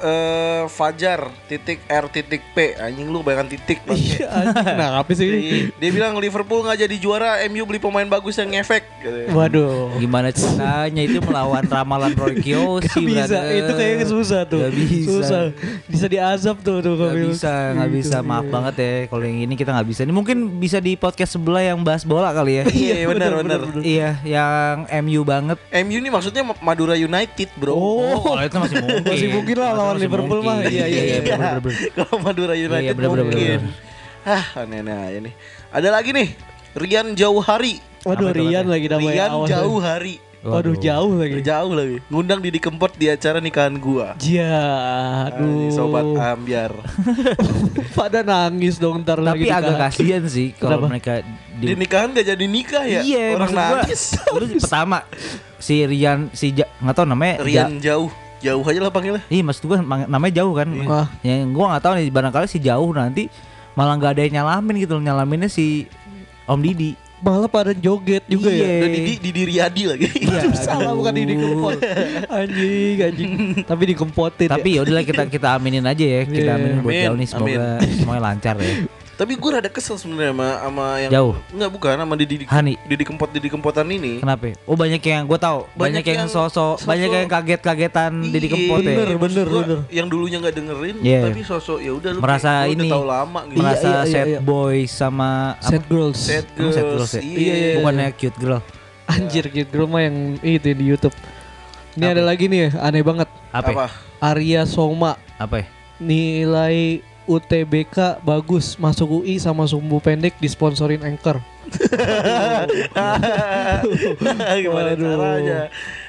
[SPEAKER 3] eh, Fajar titik R titik P anjing lu bayangkan titik Bang.
[SPEAKER 1] Iya, anjing. Nah, apa sih ini?
[SPEAKER 2] Iya.
[SPEAKER 3] Jadi, dia bilang Liverpool nggak jadi juara, MU beli pemain bagus yang ngefek. katanya.
[SPEAKER 1] Waduh.
[SPEAKER 2] Gimana ceritanya itu melawan ramalan
[SPEAKER 1] Gak
[SPEAKER 2] Roy Kiyoshi,
[SPEAKER 1] bisa,
[SPEAKER 2] brother.
[SPEAKER 1] itu kayaknya susah tuh.
[SPEAKER 2] Gak bisa.
[SPEAKER 1] Susah. gitu. Bisa diazab tuh tuh
[SPEAKER 2] Gak
[SPEAKER 1] Kamil.
[SPEAKER 2] bisa, gak bisa. Maaf banget ya kalau yang ini kita nggak bisa. Ini mungkin bisa di podcast sebelah yang bahas bola kali ya.
[SPEAKER 3] Iya, benar benar.
[SPEAKER 2] iya, yang MU banget.
[SPEAKER 3] MU ini maksudnya Madura United, Bro.
[SPEAKER 1] Oh.
[SPEAKER 2] kalau itu masih mungkin.
[SPEAKER 1] Masih mungkin lah lawan
[SPEAKER 2] masih
[SPEAKER 1] Liverpool
[SPEAKER 2] mungkin.
[SPEAKER 1] mah. Iya, iya, iya.
[SPEAKER 2] bener, bener, bener.
[SPEAKER 3] Kalau Madura United
[SPEAKER 2] Iya, bener, bener,
[SPEAKER 3] mungkin.
[SPEAKER 2] bener,
[SPEAKER 3] Hah, aneh-aneh aja nih. Ada lagi nih, Rian Jauh Hari.
[SPEAKER 1] Waduh,
[SPEAKER 2] Apa itu
[SPEAKER 1] Rian lagi namanya.
[SPEAKER 3] Rian
[SPEAKER 1] awas.
[SPEAKER 3] Jauh Hari.
[SPEAKER 1] Waduh, jauh lagi.
[SPEAKER 3] Jauh lagi. Ngundang Didi Kempot di acara nikahan gua.
[SPEAKER 1] Jia, aduh.
[SPEAKER 2] Nah,
[SPEAKER 3] Aduh. Sobat Ambiar.
[SPEAKER 1] Pada nangis dong ntar lagi.
[SPEAKER 2] Tapi agak
[SPEAKER 1] ditahan.
[SPEAKER 2] kasihan sih kalau
[SPEAKER 1] Kenapa?
[SPEAKER 2] mereka
[SPEAKER 3] Di nikahan gak jadi nikah ya?
[SPEAKER 2] Iya,
[SPEAKER 3] Orang
[SPEAKER 2] maksud gua,
[SPEAKER 3] nangis.
[SPEAKER 2] Lu pertama si Rian si Ja- nggak tahu namanya Eh, Ja-
[SPEAKER 3] Rian Jauh. Jauh aja lah panggilnya.
[SPEAKER 2] Iya maksud gue namanya jauh kan
[SPEAKER 1] Iya.
[SPEAKER 2] Yang gue gak tahu nih barangkali si jauh nanti Malah gak ada yang nyalamin gitu loh Nyalaminnya si Om Didi
[SPEAKER 1] Malah pada joget juga ya.
[SPEAKER 2] Iya.
[SPEAKER 3] Dan Didi, Didi Riyadi lagi.
[SPEAKER 1] Iya, Aduh, salah bukan ini dikempot. Anjing, anjing. Tapi dikempotin.
[SPEAKER 2] Tapi ya udahlah kita kita aminin aja ya Kita
[SPEAKER 1] Iya.
[SPEAKER 2] aminin buat
[SPEAKER 3] Iya. Amin,
[SPEAKER 2] jauh nih Semoga semuanya lancar ya
[SPEAKER 3] Tapi gue rada kesel sebenarnya sama, sama yang
[SPEAKER 2] Jauh.
[SPEAKER 3] Enggak bukan sama Didi
[SPEAKER 2] Hani.
[SPEAKER 3] Didi Kempot Didi Kempotan ini.
[SPEAKER 2] Kenapa? Oh banyak yang gue tahu, banyak,
[SPEAKER 3] Banyak
[SPEAKER 2] yang,
[SPEAKER 3] yang
[SPEAKER 2] sosok,
[SPEAKER 3] sosok-
[SPEAKER 2] banyak yang kaget-kagetan Didi
[SPEAKER 3] Iya,
[SPEAKER 2] Kempot ya.
[SPEAKER 1] Bener,
[SPEAKER 3] maksud
[SPEAKER 1] bener,
[SPEAKER 3] gua
[SPEAKER 1] bener.
[SPEAKER 3] Yang dulunya nggak dengerin,
[SPEAKER 2] Iya.
[SPEAKER 3] tapi sosok ya udah lu
[SPEAKER 2] Merasa
[SPEAKER 3] kayak, lu
[SPEAKER 2] ini.
[SPEAKER 3] udah tahu lama gitu.
[SPEAKER 1] Iya,
[SPEAKER 2] Merasa
[SPEAKER 1] iya, iya,
[SPEAKER 2] sad
[SPEAKER 1] iya.
[SPEAKER 2] boy sama
[SPEAKER 1] Sad girls.
[SPEAKER 3] Sad
[SPEAKER 2] Emang
[SPEAKER 3] girls,
[SPEAKER 2] sad girls ya?
[SPEAKER 3] iya.
[SPEAKER 1] Iya, iya.
[SPEAKER 2] Bukannya cute girl.
[SPEAKER 1] Anjir gitu rumah yang itu yang di YouTube. Ini ada lagi nih aneh banget.
[SPEAKER 2] Apa? ya? Apa?
[SPEAKER 3] Iya. Apa?
[SPEAKER 1] Arya Soma
[SPEAKER 2] Apa? ya?
[SPEAKER 1] nilai UTBK bagus masuk UI sama sumbu pendek disponsorin anchor.
[SPEAKER 3] Gimana
[SPEAKER 1] Waduh.
[SPEAKER 3] caranya?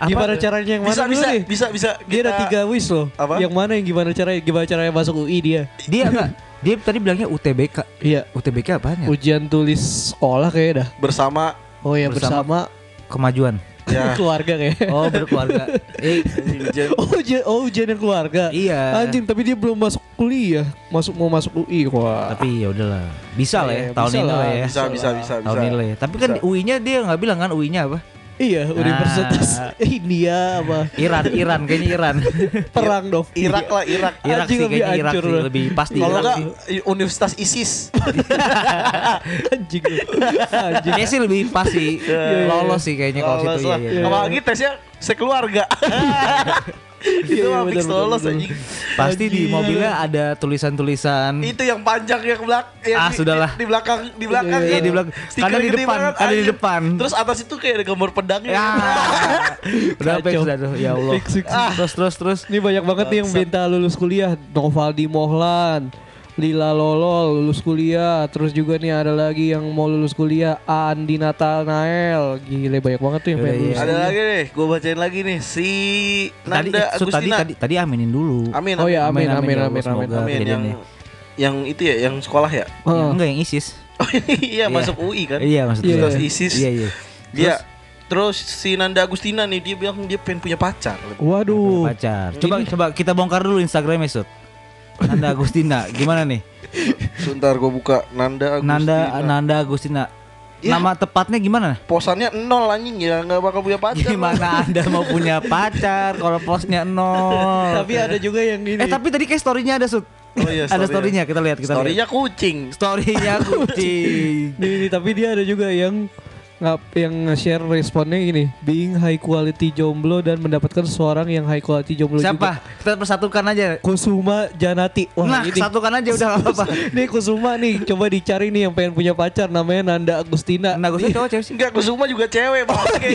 [SPEAKER 1] Gimana caranya yang mana
[SPEAKER 3] Bisa
[SPEAKER 1] dulu
[SPEAKER 3] bisa,
[SPEAKER 1] nih?
[SPEAKER 3] bisa bisa
[SPEAKER 1] Dia ada
[SPEAKER 3] kita-
[SPEAKER 1] tiga wish loh.
[SPEAKER 3] Apa?
[SPEAKER 1] Yang mana yang gimana caranya gimana caranya masuk UI dia?
[SPEAKER 2] Dia enggak. Dia tadi bilangnya UTBK.
[SPEAKER 1] Iya.
[SPEAKER 2] UTBK apaan ya?
[SPEAKER 1] Ujian tulis sekolah kayaknya dah.
[SPEAKER 3] bersama
[SPEAKER 1] Oh ya
[SPEAKER 2] Bersama.
[SPEAKER 1] bersama,
[SPEAKER 2] Kemajuan.
[SPEAKER 3] ya.
[SPEAKER 1] keluarga kayak.
[SPEAKER 2] Oh, berkeluarga. eh,
[SPEAKER 3] Hujan.
[SPEAKER 1] Oh ujian, oh ujian yang keluarga.
[SPEAKER 2] Iya.
[SPEAKER 1] Anjing tapi dia belum masuk kuliah, masuk mau masuk UI. Wah.
[SPEAKER 2] tapi ya udahlah. Bisa lah ya
[SPEAKER 1] Iya,
[SPEAKER 2] tahun
[SPEAKER 1] bisa
[SPEAKER 2] ini
[SPEAKER 1] lah,
[SPEAKER 2] lah ya.
[SPEAKER 3] Bisa bisa bisa
[SPEAKER 2] Tahun ini lah
[SPEAKER 3] bisa.
[SPEAKER 2] ya. Tapi kan UI-nya dia nggak bilang kan UI-nya apa?
[SPEAKER 1] Iya, Universitas India apa
[SPEAKER 2] Iran, Iran kayaknya Iran.
[SPEAKER 1] perang dong.
[SPEAKER 3] Irak lah Irak.
[SPEAKER 2] Irak
[SPEAKER 1] Anjing,
[SPEAKER 2] sih
[SPEAKER 1] lebih
[SPEAKER 2] kayaknya Irak
[SPEAKER 1] hancur
[SPEAKER 2] sih
[SPEAKER 1] lu.
[SPEAKER 2] lebih pasti
[SPEAKER 3] Kalau
[SPEAKER 2] Irak
[SPEAKER 3] enggak
[SPEAKER 2] sih.
[SPEAKER 3] Universitas ISIS.
[SPEAKER 1] Iya. Anjing. lu. Anjing.
[SPEAKER 2] Kayaknya sih lebih pasti
[SPEAKER 1] Iya,
[SPEAKER 2] lolos sih kayaknya kalau
[SPEAKER 3] Iya, Lolos
[SPEAKER 2] situ ya.
[SPEAKER 3] lah. Apalagi tesnya sekeluarga. Itu
[SPEAKER 1] Iya,
[SPEAKER 3] mah
[SPEAKER 1] bener,
[SPEAKER 3] fix
[SPEAKER 1] bener,
[SPEAKER 3] lolos
[SPEAKER 1] bener.
[SPEAKER 3] anjing.
[SPEAKER 2] Pasti di
[SPEAKER 1] Anjing.
[SPEAKER 2] mobilnya ada tulisan-tulisan.
[SPEAKER 3] Itu yang panjang yang belak yang
[SPEAKER 2] Ah,
[SPEAKER 3] di-
[SPEAKER 2] sudahlah.
[SPEAKER 3] Di, di belakang di belakang.
[SPEAKER 2] Iya,
[SPEAKER 3] kan.
[SPEAKER 2] di belakang.
[SPEAKER 3] Stiker
[SPEAKER 2] Kadang di
[SPEAKER 3] gede
[SPEAKER 2] depan,
[SPEAKER 3] banget,
[SPEAKER 2] kadang di
[SPEAKER 3] anjing.
[SPEAKER 2] depan.
[SPEAKER 3] Terus atas itu kayak ada gambar pedangnya.
[SPEAKER 2] Ya. Udah fix
[SPEAKER 1] Kacau.
[SPEAKER 2] dah tuh. Ya Allah.
[SPEAKER 1] Fix, fix, fix.
[SPEAKER 2] Terus terus terus.
[SPEAKER 1] Ini banyak banget nih yang minta lulus kuliah. Novaldi Mohlan, Lila Lolol lulus kuliah. Terus juga nih ada lagi yang mau lulus kuliah. Andi Natal Nael. Gile banyak banget tuh yang pengen
[SPEAKER 2] Iya,
[SPEAKER 1] lulus.
[SPEAKER 2] iya.
[SPEAKER 3] Ada lagi nih, gue bacain lagi nih si
[SPEAKER 2] Tadi eh,
[SPEAKER 3] Nanda
[SPEAKER 2] so, tadi
[SPEAKER 3] Agustina.
[SPEAKER 2] tadi tadi aminin dulu.
[SPEAKER 3] Amin.
[SPEAKER 1] Oh ya, amin amin amin
[SPEAKER 2] Amin, amin, ya Allah,
[SPEAKER 1] amin. amin.
[SPEAKER 2] semoga.
[SPEAKER 3] Amin yang
[SPEAKER 2] Kejadiannya.
[SPEAKER 3] yang itu ya, yang sekolah ya.
[SPEAKER 2] Ya,
[SPEAKER 1] Heeh.
[SPEAKER 2] enggak yang ISIS.
[SPEAKER 3] Oh iya, masuk UI kan.
[SPEAKER 2] Iya maksudnya.
[SPEAKER 1] Iya.
[SPEAKER 3] ISIS.
[SPEAKER 2] Iya iya.
[SPEAKER 3] Dia terus si Nanda Agustina nih dia bilang dia pengen punya pacar. uh.
[SPEAKER 1] Waduh.
[SPEAKER 2] Pacar. Coba coba kita bongkar dulu Instagramnya Sud. Nanda Agustina, gimana nih?
[SPEAKER 3] Sebentar gue buka Nanda Agustina.
[SPEAKER 2] Nanda Nanda Agustina.
[SPEAKER 3] Ya.
[SPEAKER 2] Nama tepatnya gimana?
[SPEAKER 3] Posannya nol anjing ya nggak bakal punya pacar.
[SPEAKER 2] Gimana Anda mau punya pacar kalau posnya nol?
[SPEAKER 1] Tapi ada juga yang ini.
[SPEAKER 2] Eh tapi tadi kayak story-nya ada Sud.
[SPEAKER 3] ya, Oh iya,
[SPEAKER 2] ada
[SPEAKER 3] story-nya.
[SPEAKER 2] story-nya, kita lihat kita lihat.
[SPEAKER 3] Storynya kucing.
[SPEAKER 2] Story-nya kucing.
[SPEAKER 1] Nih, nih, tapi dia ada juga yang ngap yang share responnya gini being high quality jomblo dan mendapatkan seorang yang high quality jomblo
[SPEAKER 2] Siapa?
[SPEAKER 1] juga
[SPEAKER 2] Kita persatukan aja.
[SPEAKER 1] Kusuma Janati wah
[SPEAKER 2] nah,
[SPEAKER 1] ini
[SPEAKER 2] satukan aja udah nggak apa-apa.
[SPEAKER 1] Nih Kusuma nih coba dicari nih yang pengen punya pacar namanya Nanda Agustina
[SPEAKER 2] Nah, gue cowok cewek sih.
[SPEAKER 3] Enggak Kusuma juga cewek bangke.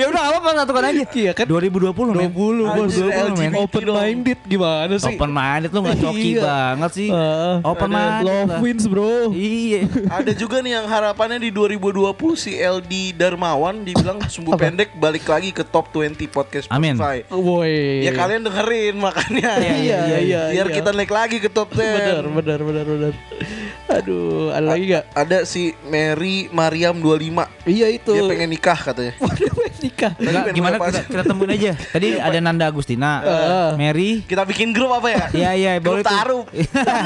[SPEAKER 2] Ya udah nggak apa-apa satukan aja.
[SPEAKER 1] Iya kan
[SPEAKER 2] 2020
[SPEAKER 1] 20
[SPEAKER 2] men.
[SPEAKER 1] bos
[SPEAKER 3] Anjir, LGBT
[SPEAKER 1] open
[SPEAKER 3] dong.
[SPEAKER 1] minded gimana sih
[SPEAKER 2] Open minded lu nggak coki
[SPEAKER 1] Iya.
[SPEAKER 2] banget sih.
[SPEAKER 1] Heeh.
[SPEAKER 2] Open minded.
[SPEAKER 1] love
[SPEAKER 2] lah.
[SPEAKER 1] wins bro
[SPEAKER 2] Iya.
[SPEAKER 3] Ada juga nih yang harapannya di 2020 si LD Darmawan dibilang sumbu
[SPEAKER 1] Apa?
[SPEAKER 3] pendek balik lagi ke top 20 podcast
[SPEAKER 2] Amin.
[SPEAKER 3] Spotify.
[SPEAKER 1] woi
[SPEAKER 3] Ya kalian dengerin makanya.
[SPEAKER 1] Iya, iya, iya,
[SPEAKER 3] Biar
[SPEAKER 1] iya.
[SPEAKER 3] kita naik lagi ke top 10.
[SPEAKER 1] benar benar benar benar aduh ada lagi gak
[SPEAKER 3] Ada si Mary Mariam 25.
[SPEAKER 1] iya itu
[SPEAKER 3] Dia pengen nikah katanya.
[SPEAKER 1] Waduh, nikah
[SPEAKER 2] Nggak,
[SPEAKER 3] pengen
[SPEAKER 2] gimana
[SPEAKER 3] punya
[SPEAKER 2] kita,
[SPEAKER 3] pacar.
[SPEAKER 2] kita temuin aja. Tadi
[SPEAKER 1] Iya,
[SPEAKER 2] ada Nanda Agustina,
[SPEAKER 1] Heeh.
[SPEAKER 2] Mary.
[SPEAKER 3] Kita bikin grup apa ya?
[SPEAKER 2] Iya iya boleh
[SPEAKER 3] Grup
[SPEAKER 2] tuh.
[SPEAKER 3] taruh.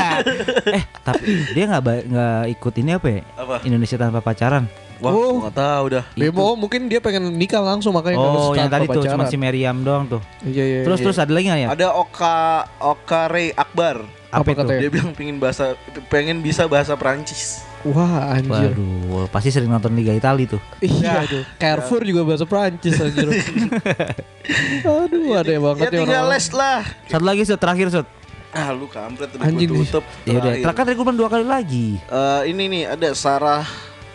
[SPEAKER 2] eh tapi dia nggak ba- nggak ikut ini apa ya?
[SPEAKER 3] Apa?
[SPEAKER 2] Indonesia tanpa pacaran.
[SPEAKER 3] Wah,
[SPEAKER 1] Oh.
[SPEAKER 3] gua nggak tahu dah.
[SPEAKER 1] Demo mungkin dia pengen nikah langsung makanya
[SPEAKER 2] Oh yang
[SPEAKER 1] tanpa
[SPEAKER 2] tadi tuh cuma
[SPEAKER 1] pacaran.
[SPEAKER 2] si Meriam doang tuh.
[SPEAKER 1] Iya iya.
[SPEAKER 2] Terus terus ada lagi nggak ya?
[SPEAKER 3] Ada Oka Oka Ray Akbar.
[SPEAKER 1] Apa
[SPEAKER 2] itu?
[SPEAKER 1] katanya?
[SPEAKER 3] Dia bilang pengen bahasa pengen bisa bahasa Prancis.
[SPEAKER 1] Wah anjir.
[SPEAKER 2] Waduh, pasti sering nonton Liga Italia tuh.
[SPEAKER 1] Iya
[SPEAKER 3] Nah.
[SPEAKER 1] aduh. Carrefour juga bahasa Prancis anjir. aduh ada yang banget
[SPEAKER 3] Ya tinggal les lah.
[SPEAKER 2] Satu lagi Sud, terakhir Sud.
[SPEAKER 3] Ah lu kampret udah
[SPEAKER 1] Anjing
[SPEAKER 3] gua
[SPEAKER 1] nih.
[SPEAKER 3] tutup.
[SPEAKER 2] Ya udah,
[SPEAKER 3] Terakhir.
[SPEAKER 2] terakhir tadi gue bilang dua kali lagi.
[SPEAKER 3] Eh, ini nih ada Sarah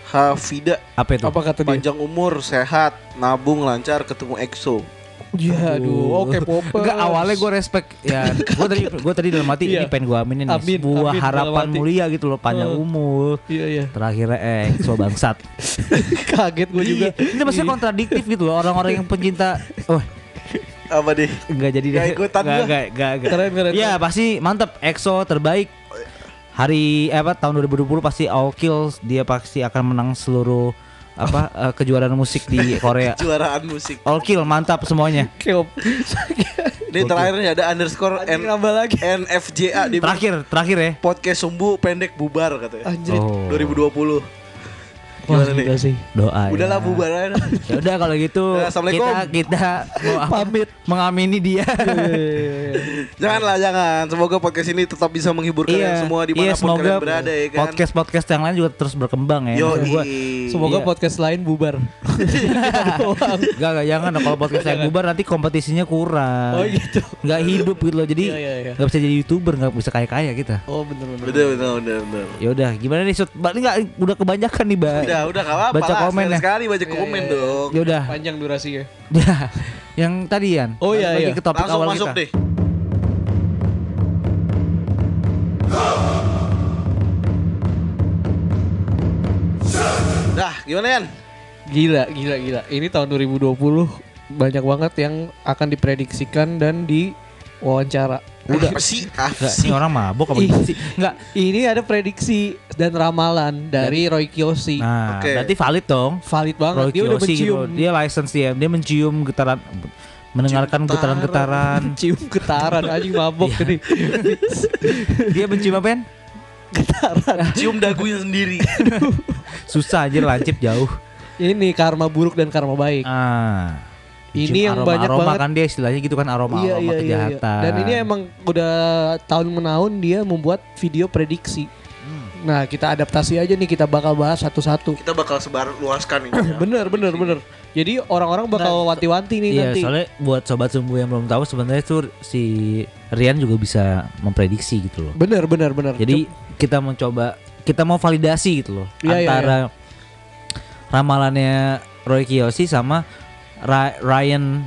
[SPEAKER 3] Hafida
[SPEAKER 2] Apa itu?
[SPEAKER 1] Apa kata dia?
[SPEAKER 3] panjang umur sehat nabung lancar ketemu EXO
[SPEAKER 1] Iya aduh. Oke popers.
[SPEAKER 2] Enggak awalnya gue respect ya gue tadi gue tadi dalam hati
[SPEAKER 1] Iya.
[SPEAKER 2] ini pengen gue aminin nih
[SPEAKER 1] Amin,
[SPEAKER 2] sebuah
[SPEAKER 1] amin,
[SPEAKER 2] harapan
[SPEAKER 1] dalam hati.
[SPEAKER 2] mulia gitu loh panjang
[SPEAKER 1] Heeh.
[SPEAKER 2] umur
[SPEAKER 1] Iya iya.
[SPEAKER 2] terakhirnya eh so bangsat
[SPEAKER 1] Kaget gue juga.
[SPEAKER 2] Iya, ini maksudnya kontradiktif gitu loh orang-orang yang pencinta oh
[SPEAKER 3] apa deh
[SPEAKER 2] enggak jadi
[SPEAKER 3] Nggak ikutan
[SPEAKER 2] enggak,
[SPEAKER 3] gua.
[SPEAKER 2] enggak, enggak, enggak.
[SPEAKER 1] Keren, keren,
[SPEAKER 2] Iya, pasti mantep EXO terbaik hari eh, apa tahun 2020 pasti all kills dia pasti akan menang seluruh apa eh, kejuaraan musik di Korea
[SPEAKER 3] juaraan musik
[SPEAKER 2] all kill mantap semuanya
[SPEAKER 1] Keop.
[SPEAKER 3] ini terakhir nih ada underscore
[SPEAKER 1] Anjing,
[SPEAKER 3] N
[SPEAKER 1] nambah lagi.
[SPEAKER 3] NFJA
[SPEAKER 1] Iya,
[SPEAKER 3] di
[SPEAKER 2] terakhir terakhir ya
[SPEAKER 3] podcast sumbu pendek bubar katanya
[SPEAKER 1] Anjir.
[SPEAKER 2] Oh.
[SPEAKER 3] 2020
[SPEAKER 1] Wah,
[SPEAKER 3] Gimana
[SPEAKER 1] gila
[SPEAKER 3] nih?
[SPEAKER 1] sih.
[SPEAKER 2] Doa.
[SPEAKER 3] Udahlah
[SPEAKER 2] ya.
[SPEAKER 3] bubar aja.
[SPEAKER 2] Ya udah kalau gitu
[SPEAKER 3] Nah, Assalamualaikum.
[SPEAKER 2] kita kita mau apa?
[SPEAKER 1] Pamit.
[SPEAKER 2] mengamini dia.
[SPEAKER 1] Iya,
[SPEAKER 3] Janganlah jangan. Semoga podcast ini tetap bisa menghibur kalian semua
[SPEAKER 2] iya,
[SPEAKER 3] dimanapun
[SPEAKER 2] semoga
[SPEAKER 3] kalian berada ya kan.
[SPEAKER 2] podcast podcast yang lain juga terus berkembang ya.
[SPEAKER 3] Yo,
[SPEAKER 2] Maksud gua,
[SPEAKER 1] Semoga
[SPEAKER 2] Iya.
[SPEAKER 1] podcast lain bubar. Kita doang.
[SPEAKER 2] Gak, gak, jangan kalau podcast saya bubar nanti kompetisinya kurang.
[SPEAKER 1] Oh,
[SPEAKER 3] iya,
[SPEAKER 1] gitu.
[SPEAKER 2] Gak hidup gitu loh. Jadi
[SPEAKER 1] Iya, iya, iya.
[SPEAKER 2] gak bisa jadi youtuber, gak bisa kaya kaya kita.
[SPEAKER 1] Oh bener-bener.
[SPEAKER 3] Bener bener bener. bener.
[SPEAKER 2] Ya udah, gimana nih? Sut? Balik nggak? Udah kebanyakan nih, Bang.
[SPEAKER 3] Udah udah gak apa-apa.
[SPEAKER 2] Iya. Baca
[SPEAKER 3] lah.
[SPEAKER 2] komen
[SPEAKER 3] Sekali
[SPEAKER 2] ya.
[SPEAKER 3] sekali baca komen dong.
[SPEAKER 2] Ya udah.
[SPEAKER 1] Panjang durasi ya.
[SPEAKER 2] Ya, Yang tadi Yan.
[SPEAKER 1] Oh, iya,
[SPEAKER 2] Balik
[SPEAKER 1] iya.
[SPEAKER 2] lagi Ke topik
[SPEAKER 3] Langsung
[SPEAKER 2] awal
[SPEAKER 3] masuk
[SPEAKER 2] kita.
[SPEAKER 3] deh. Dah, gimana Yan?
[SPEAKER 1] Gila, gila, gila. Ini tahun 2020 banyak banget yang akan diprediksikan dan diwawancara.
[SPEAKER 3] Udah sih? Ah,
[SPEAKER 2] Nggak,
[SPEAKER 3] sih.
[SPEAKER 2] ini orang mabok apa
[SPEAKER 1] Ih.
[SPEAKER 2] gimana sih? Enggak.
[SPEAKER 1] Ini ada prediksi dan ramalan dari Roy Kiyoshi.
[SPEAKER 2] Nah,
[SPEAKER 3] Oke.
[SPEAKER 2] berarti valid dong.
[SPEAKER 1] Valid banget.
[SPEAKER 2] Roy
[SPEAKER 1] Oh, dia udah
[SPEAKER 2] Kiyoshi gitu.
[SPEAKER 1] mencium
[SPEAKER 2] Dia license dia, dia mencium getaran mendengarkan getaran-getaran.
[SPEAKER 1] mencium getaran anjing mabok
[SPEAKER 2] Iya.
[SPEAKER 1] ini.
[SPEAKER 2] dia mencium apa, Yan?
[SPEAKER 3] Cium dagunya sendiri.
[SPEAKER 2] Susah anjir lancip jauh.
[SPEAKER 1] ini karma buruk dan karma baik.
[SPEAKER 2] Ah.
[SPEAKER 1] Ini
[SPEAKER 2] Cium
[SPEAKER 1] yang banyak
[SPEAKER 2] aroma
[SPEAKER 1] banget. Iya,
[SPEAKER 2] kan dia istilahnya gitu kan aroma aroma kejahatan.
[SPEAKER 1] Dan ini emang udah tahun menahun dia membuat video prediksi.
[SPEAKER 2] Hmm.
[SPEAKER 1] Nah, kita adaptasi aja nih kita bakal bahas satu-satu.
[SPEAKER 3] Kita bakal sebar luaskan ini. ya.
[SPEAKER 1] Bener, bener, bener. Jadi orang-orang bakal wanti-wanti nih
[SPEAKER 2] Iya,
[SPEAKER 1] nanti.
[SPEAKER 2] soalnya buat sobat sumbu yang belum tahu sebenarnya tuh si Rian juga bisa memprediksi gitu loh.
[SPEAKER 1] Bener, bener, bener.
[SPEAKER 2] Jadi kita mencoba kita mau validasi gitu loh
[SPEAKER 1] Iya, iya,
[SPEAKER 2] antara ramalannya Roy Kiyoshi sama Ra- Ryan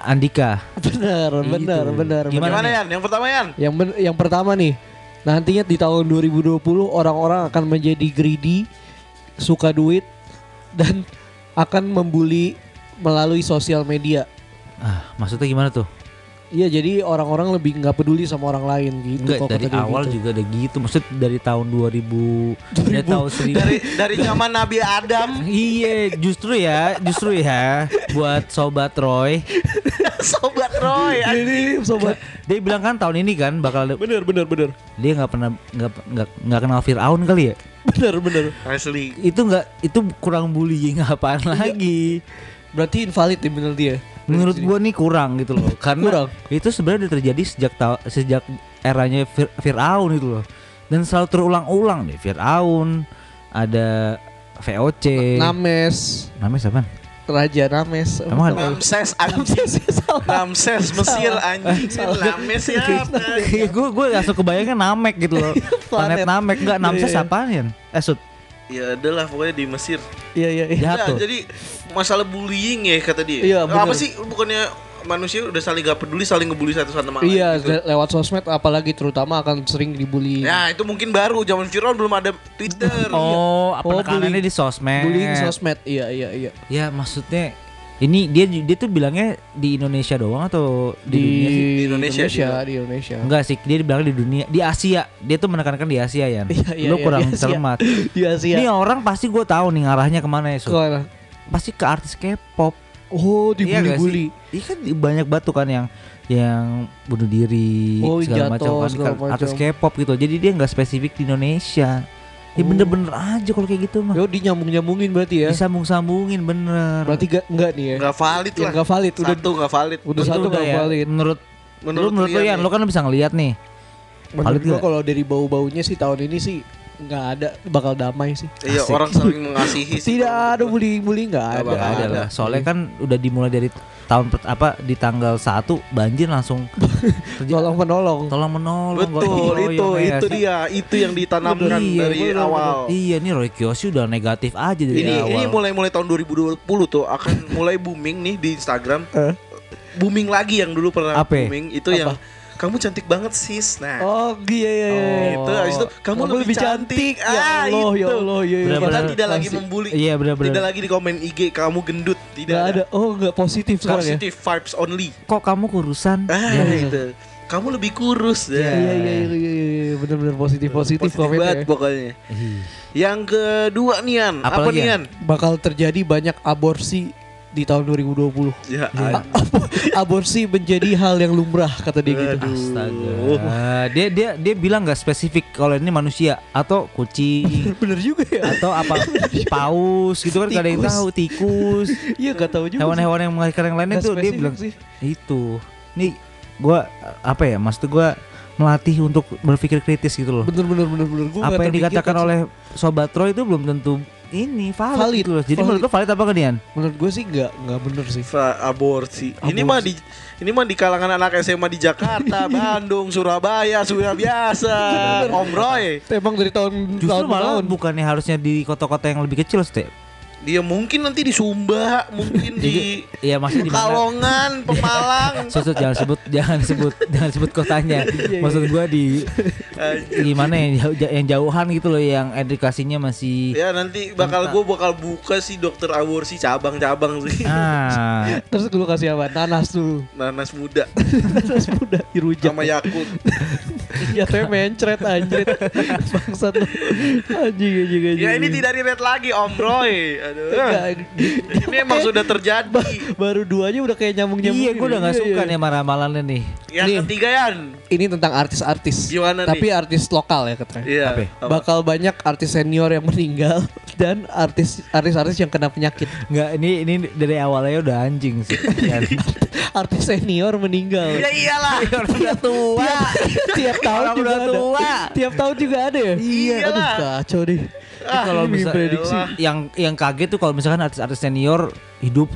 [SPEAKER 2] Andika.
[SPEAKER 1] bener,
[SPEAKER 2] Gitu.
[SPEAKER 1] bener, bener.
[SPEAKER 2] Gimana
[SPEAKER 1] bener.
[SPEAKER 3] Gimana Yan? Yang pertama Yan?
[SPEAKER 1] Yang ben- yang pertama nih, nantinya di tahun 2020 orang-orang akan menjadi greedy, suka duit dan akan membuli melalui sosial media.
[SPEAKER 2] Ah, maksudnya gimana tuh?
[SPEAKER 1] Iya, jadi orang-orang lebih nggak peduli sama orang lain gitu.
[SPEAKER 2] Enggak
[SPEAKER 1] kalau
[SPEAKER 2] dari
[SPEAKER 1] kata dia
[SPEAKER 2] awal
[SPEAKER 1] gitu.
[SPEAKER 2] juga ada gitu. Maksud dari tahun 2000, dari tahun 1000.
[SPEAKER 3] Dari dari zaman Nabi Adam
[SPEAKER 2] Iya, justru ya, justru ya buat sobat Roy.
[SPEAKER 3] sobat Roy.
[SPEAKER 1] Ini sobat.
[SPEAKER 2] Dia bilang kan tahun ini kan bakal ada-
[SPEAKER 1] iya, Bener, bener, bener.
[SPEAKER 2] dia nggak pernah nggak nggak nggak kenal Firaun kali ya.
[SPEAKER 1] Bener, bener.
[SPEAKER 3] Asli.
[SPEAKER 2] Itu nggak itu kurang bullying apaan lagi.
[SPEAKER 1] Berarti invalid nih bener dia.
[SPEAKER 2] Menurut gua nih kurang gitu loh.
[SPEAKER 1] Kurang.
[SPEAKER 2] Karena itu sebenarnya udah terjadi sejak ta- sejak eranya Fir- Firaun itu loh. Dan selalu terulang-ulang deh Firaun ada VOC.
[SPEAKER 1] Names,
[SPEAKER 2] Namanya siapa?
[SPEAKER 1] Raja Names.
[SPEAKER 2] Emang ada
[SPEAKER 3] Ramses anjing. Ramses Mesir anjing. Lames siapa?
[SPEAKER 2] gue gue langsung kebayangnya Namek gitu loh
[SPEAKER 1] Iya.
[SPEAKER 2] planet
[SPEAKER 1] Planet.
[SPEAKER 2] Namek nggak Namses
[SPEAKER 1] Iya, iya.
[SPEAKER 2] apaan ya eh Sud,
[SPEAKER 3] Ya adalah pokoknya di Mesir.
[SPEAKER 1] Iya, iya, iya.
[SPEAKER 3] Ya,
[SPEAKER 2] jahat tuh
[SPEAKER 3] jadi masalah bullying ya kata dia.
[SPEAKER 1] Iya,
[SPEAKER 3] Apa
[SPEAKER 1] bener.
[SPEAKER 3] sih bukannya manusia udah saling gak peduli saling ngebully satu sama lain
[SPEAKER 1] Iya,
[SPEAKER 3] gitu.
[SPEAKER 1] le- lewat sosmed apalagi terutama akan sering dibully.
[SPEAKER 3] Nah, itu mungkin baru zaman Firaun belum ada Twitter.
[SPEAKER 2] oh apa
[SPEAKER 1] Oh,
[SPEAKER 2] nekanannya
[SPEAKER 1] bullying.
[SPEAKER 2] di sosmed
[SPEAKER 1] Bullying sosmed. Iya, iya, iya.
[SPEAKER 2] ya maksudnya ini dia dia tuh bilangnya di Indonesia doang atau di,
[SPEAKER 1] Di,
[SPEAKER 2] dunia sih
[SPEAKER 3] Di Indonesia juga.
[SPEAKER 1] di Indonesia.
[SPEAKER 2] enggak sih dia bilang di dunia di Asia dia tuh menekankan di Asia ya
[SPEAKER 1] Iya, iya,
[SPEAKER 2] lu
[SPEAKER 1] iya,
[SPEAKER 2] kurang
[SPEAKER 1] di Asia.
[SPEAKER 2] cermat
[SPEAKER 1] Di Asia.
[SPEAKER 2] ini orang pasti gue tahu nih arahnya kemana ya
[SPEAKER 1] Ke
[SPEAKER 2] Sud.
[SPEAKER 1] mana?
[SPEAKER 2] pasti ke artis K-pop
[SPEAKER 1] Oh,
[SPEAKER 2] Iya nggak
[SPEAKER 1] dibully-bully.
[SPEAKER 2] sih? Iya kan di- banyak batu kan yang yang bunuh diri
[SPEAKER 1] Oh, jatuh,
[SPEAKER 2] segala macam kan
[SPEAKER 1] segala
[SPEAKER 2] kan artis
[SPEAKER 1] macam.
[SPEAKER 2] K-pop gitu. Jadi dia nggak spesifik di Indonesia. Ya
[SPEAKER 1] Oh.
[SPEAKER 2] bener-bener aja kalau kayak gitu mah.
[SPEAKER 1] Yo, dinyambung-nyambungin berarti ya.
[SPEAKER 2] Disambung-sambungin bener.
[SPEAKER 1] Berarti ga, enggak nih ya.
[SPEAKER 3] Iya, Nggak valid
[SPEAKER 1] Ya,
[SPEAKER 3] lah.
[SPEAKER 1] nggak valid, udah-
[SPEAKER 3] satu nggak valid.
[SPEAKER 1] udah
[SPEAKER 2] Itu
[SPEAKER 1] satu
[SPEAKER 2] udah
[SPEAKER 1] nggak valid.
[SPEAKER 2] Menurut menurut
[SPEAKER 3] Menurut
[SPEAKER 2] lu, menurut lu
[SPEAKER 3] Rian
[SPEAKER 2] Yan,
[SPEAKER 1] ya.
[SPEAKER 3] nih.
[SPEAKER 2] lu kan bisa ngelihat nih.
[SPEAKER 1] Menurut
[SPEAKER 2] valid
[SPEAKER 1] gua
[SPEAKER 2] nggak?
[SPEAKER 1] kalau dari bau-baunya sih tahun ini sih nggak ada bakal damai sih.
[SPEAKER 3] Iya,
[SPEAKER 2] Asik.
[SPEAKER 3] orang saling mengasihi sih.
[SPEAKER 1] Tidak ada bullying-bullying nggak
[SPEAKER 3] Nggak
[SPEAKER 1] ada.
[SPEAKER 2] Nggak
[SPEAKER 3] bakal
[SPEAKER 2] ada
[SPEAKER 3] ada.
[SPEAKER 2] lah. Soalnya kan udah dimulai dari tahun per- apa di tanggal 1 banjir langsung terjadi.
[SPEAKER 1] Tolong menolong.
[SPEAKER 2] tolong menolong
[SPEAKER 3] Betul,
[SPEAKER 2] gotong
[SPEAKER 3] itu
[SPEAKER 2] royong, ya
[SPEAKER 3] itu
[SPEAKER 2] sih?
[SPEAKER 3] dia, itu yang ditanamkan
[SPEAKER 2] Iya,
[SPEAKER 3] dari
[SPEAKER 2] bener,
[SPEAKER 3] awal.
[SPEAKER 2] bener. Iya nih Roy Kiyoshi udah negatif aja dari
[SPEAKER 3] Ini
[SPEAKER 2] awal.
[SPEAKER 3] ini mulai-mulai tahun 2020 tuh akan mulai booming nih di Instagram.
[SPEAKER 1] Eh?
[SPEAKER 3] Booming lagi yang dulu pernah
[SPEAKER 2] Apa?
[SPEAKER 3] booming itu yang kamu cantik banget sis. Nah,
[SPEAKER 1] Oh iya iya iya.
[SPEAKER 2] Oh.
[SPEAKER 3] itu habis itu kamu, lebih, cantik.
[SPEAKER 1] Ya
[SPEAKER 3] Ah,
[SPEAKER 1] Allah ya
[SPEAKER 3] itu.
[SPEAKER 1] Allah ya
[SPEAKER 2] Bener,
[SPEAKER 1] Allah.
[SPEAKER 3] Kita
[SPEAKER 2] bener.
[SPEAKER 3] tidak lagi
[SPEAKER 1] Pasti.
[SPEAKER 3] membuli.
[SPEAKER 2] Iya benar-benar.
[SPEAKER 3] Tidak lagi di komen IG kamu gendut, tidak
[SPEAKER 1] Nggak
[SPEAKER 3] ada.
[SPEAKER 1] ada. Oh nggak positif sekarang ya.
[SPEAKER 3] Positive vibes only.
[SPEAKER 2] Kok kamu kurusan?
[SPEAKER 3] Ah, gitu. Kamu lebih kurus
[SPEAKER 1] Iya
[SPEAKER 3] dah.
[SPEAKER 1] iya iya iya, iya iya. benar-benar positif positif
[SPEAKER 3] Positif banget
[SPEAKER 1] komennya. ya.
[SPEAKER 3] pokoknya. Yang kedua Nian, apa
[SPEAKER 2] Apalagi, Yan?
[SPEAKER 3] Nian?
[SPEAKER 1] Bakal terjadi banyak aborsi di tahun 2020.
[SPEAKER 3] Ya,
[SPEAKER 1] A- ab- aborsi menjadi hal yang lumrah kata dia gitu.
[SPEAKER 2] Astaga. Dia dia dia bilang nggak spesifik kalau ini manusia atau kucing
[SPEAKER 1] Bener juga ya.
[SPEAKER 2] atau apa paus gitu kan gak ada yang
[SPEAKER 1] Tikus.
[SPEAKER 2] tahu tikus
[SPEAKER 1] Iya gak tahu juga. sih.
[SPEAKER 2] hewan-hewan yang melahirkan yang lainnya
[SPEAKER 1] Nggak
[SPEAKER 2] tuh dia
[SPEAKER 1] spesifik
[SPEAKER 2] bilang
[SPEAKER 1] sih.
[SPEAKER 2] itu nih gua apa ya maksud gua melatih untuk berpikir kritis gitu loh
[SPEAKER 1] Bener bener bener bener Gua nggak
[SPEAKER 2] apa yang
[SPEAKER 1] terpikirkan
[SPEAKER 2] dikatakan
[SPEAKER 1] sih.
[SPEAKER 2] oleh sobat Roy itu belum tentu ini valid,
[SPEAKER 1] Valid,
[SPEAKER 2] gitu loh. jadi
[SPEAKER 1] valid.
[SPEAKER 2] menurut lo valid apa enggak Dian?
[SPEAKER 1] menurut gue sih nggak nggak bener sih.
[SPEAKER 3] Fa- aborsi. Ini mah di ini mah di kalangan anak SMA di Jakarta, Bandung, Surabaya, Surabaya biasa. Om Roy.
[SPEAKER 1] Emang dari tahun
[SPEAKER 2] Justru
[SPEAKER 1] tahun ke
[SPEAKER 2] malah
[SPEAKER 1] tahun.
[SPEAKER 2] bukannya harusnya di kota-kota yang lebih kecil sih.
[SPEAKER 3] Dia mungkin nanti di Sumba, mungkin di
[SPEAKER 2] Iya maksudnya di mana?
[SPEAKER 3] Kalongan, Pemalang.
[SPEAKER 2] Susut jangan sebut jangan sebut jangan sebut kotanya. Maksud gua di gimana yang jauh yang jauhan gitu loh yang edukasinya masih
[SPEAKER 3] Ya nanti bakal gue bakal buka sih dokter aborsi cabang-cabang sih.
[SPEAKER 2] ah
[SPEAKER 1] Terus gue kasih apa? Nanas tuh.
[SPEAKER 3] Nanas muda
[SPEAKER 1] Nanas muda dirujak.
[SPEAKER 3] sama Yakult.
[SPEAKER 1] ya teh mencret anjrit. Bangsat lu. Anjing anjing anjing.
[SPEAKER 3] Ya ini
[SPEAKER 1] anjing.
[SPEAKER 3] tidak relate lagi Om Roy. Aduh.
[SPEAKER 1] Nggak,
[SPEAKER 3] Ini emang sudah terjadi.
[SPEAKER 1] ba- baru duanya udah kayak nyambung-nyambung.
[SPEAKER 2] iya
[SPEAKER 1] gitu.
[SPEAKER 2] gua udah nggak
[SPEAKER 1] Iya,
[SPEAKER 2] suka
[SPEAKER 1] iya.
[SPEAKER 2] nih sama ramalannya nih.
[SPEAKER 3] Yang
[SPEAKER 1] Nih.
[SPEAKER 3] ketiga Yan.
[SPEAKER 1] Ini tentang artis-artis.
[SPEAKER 3] Gimana nih?
[SPEAKER 1] Tapi artis lokal ya katanya.
[SPEAKER 3] Iya.
[SPEAKER 2] Apa?
[SPEAKER 3] Apa?
[SPEAKER 1] Bakal banyak artis senior yang meninggal dan artis artis-artis yang kena penyakit.
[SPEAKER 2] Nggak ini ini dari awalnya udah anjing sih. Yan.
[SPEAKER 1] Artis senior meninggal.
[SPEAKER 3] Ya iyalah.
[SPEAKER 2] udah tua.
[SPEAKER 3] iya.
[SPEAKER 1] tiap tahun
[SPEAKER 2] Orang
[SPEAKER 1] juga
[SPEAKER 2] udah
[SPEAKER 1] ada.
[SPEAKER 2] tua.
[SPEAKER 1] Tiap tahun juga ada ya.
[SPEAKER 3] Iya.
[SPEAKER 1] Aduh
[SPEAKER 3] Iyalah. Ah,
[SPEAKER 1] kacau deh.
[SPEAKER 2] Ini kalau
[SPEAKER 1] Ini
[SPEAKER 2] bisa
[SPEAKER 1] prediksi.
[SPEAKER 3] elah.
[SPEAKER 2] yang yang kaget tuh kalau misalkan artis-artis senior hidup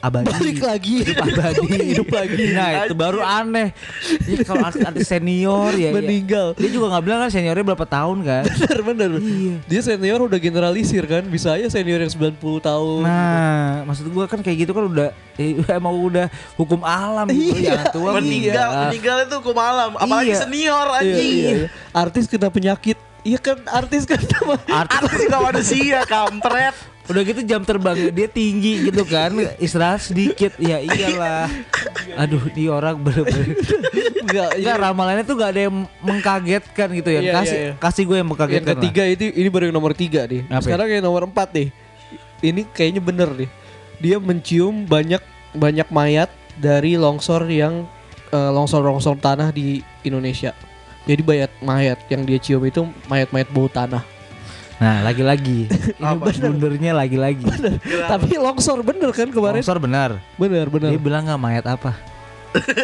[SPEAKER 2] abadi.
[SPEAKER 1] Balik lagi.
[SPEAKER 2] Hidup abadi,
[SPEAKER 1] Hidup lagi.
[SPEAKER 2] Nah, itu baru aneh. Ya, kalau artis-artis senior ya, ya.
[SPEAKER 1] Meninggal.
[SPEAKER 2] Dia juga nggak bilang kan seniornya berapa tahun kan?
[SPEAKER 1] Bener bener.
[SPEAKER 2] Iya.
[SPEAKER 1] Dia senior udah generalisir kan. Bisa aja senior yang 90 tahun.
[SPEAKER 2] Nah, maksud gua kan kayak gitu kan udah eh, emang udah hukum alam gitu
[SPEAKER 1] Iya,
[SPEAKER 2] yang tua gitu.
[SPEAKER 3] meninggal, meninggal itu ke malam, apalagi
[SPEAKER 2] Iya.
[SPEAKER 3] senior
[SPEAKER 1] Iya,
[SPEAKER 3] anjing.
[SPEAKER 1] iya, iya. Artis kena penyakit. Iya kan artis kan sama.
[SPEAKER 2] Artis
[SPEAKER 3] Artis juga manusia, kampret.
[SPEAKER 2] udah gitu jam terbang dia tinggi gitu kan istirahat sedikit ya iyalah
[SPEAKER 1] Iya.
[SPEAKER 2] aduh di orang bener-bener
[SPEAKER 1] Enggak,
[SPEAKER 2] Enggak ramalannya tuh gak ada yang mengkagetkan gitu ya.
[SPEAKER 1] Iya,
[SPEAKER 2] kasih
[SPEAKER 1] iya, iya.
[SPEAKER 2] kasih gue yang
[SPEAKER 1] yang
[SPEAKER 2] mengkagetkan.
[SPEAKER 1] ketiga itu ini baru yang nomor tiga nih.
[SPEAKER 2] Apa ya?
[SPEAKER 1] Sekarang yang nomor empat nih. Ini kayaknya bener nih. Dia mencium banyak banyak mayat dari longsor yang eh, longsor-longsor tanah di Indonesia. Jadi mayat mayat yang dia cium itu mayat-mayat bau tanah.
[SPEAKER 2] lah. Nah, lagi-lagi. Ini
[SPEAKER 3] Apa?
[SPEAKER 2] bundernya lagi-lagi.
[SPEAKER 1] Tapi longsor bener kan kemarin?
[SPEAKER 2] Longsor benar.
[SPEAKER 1] Bener bener.
[SPEAKER 2] Dia bilang gak mayat apa.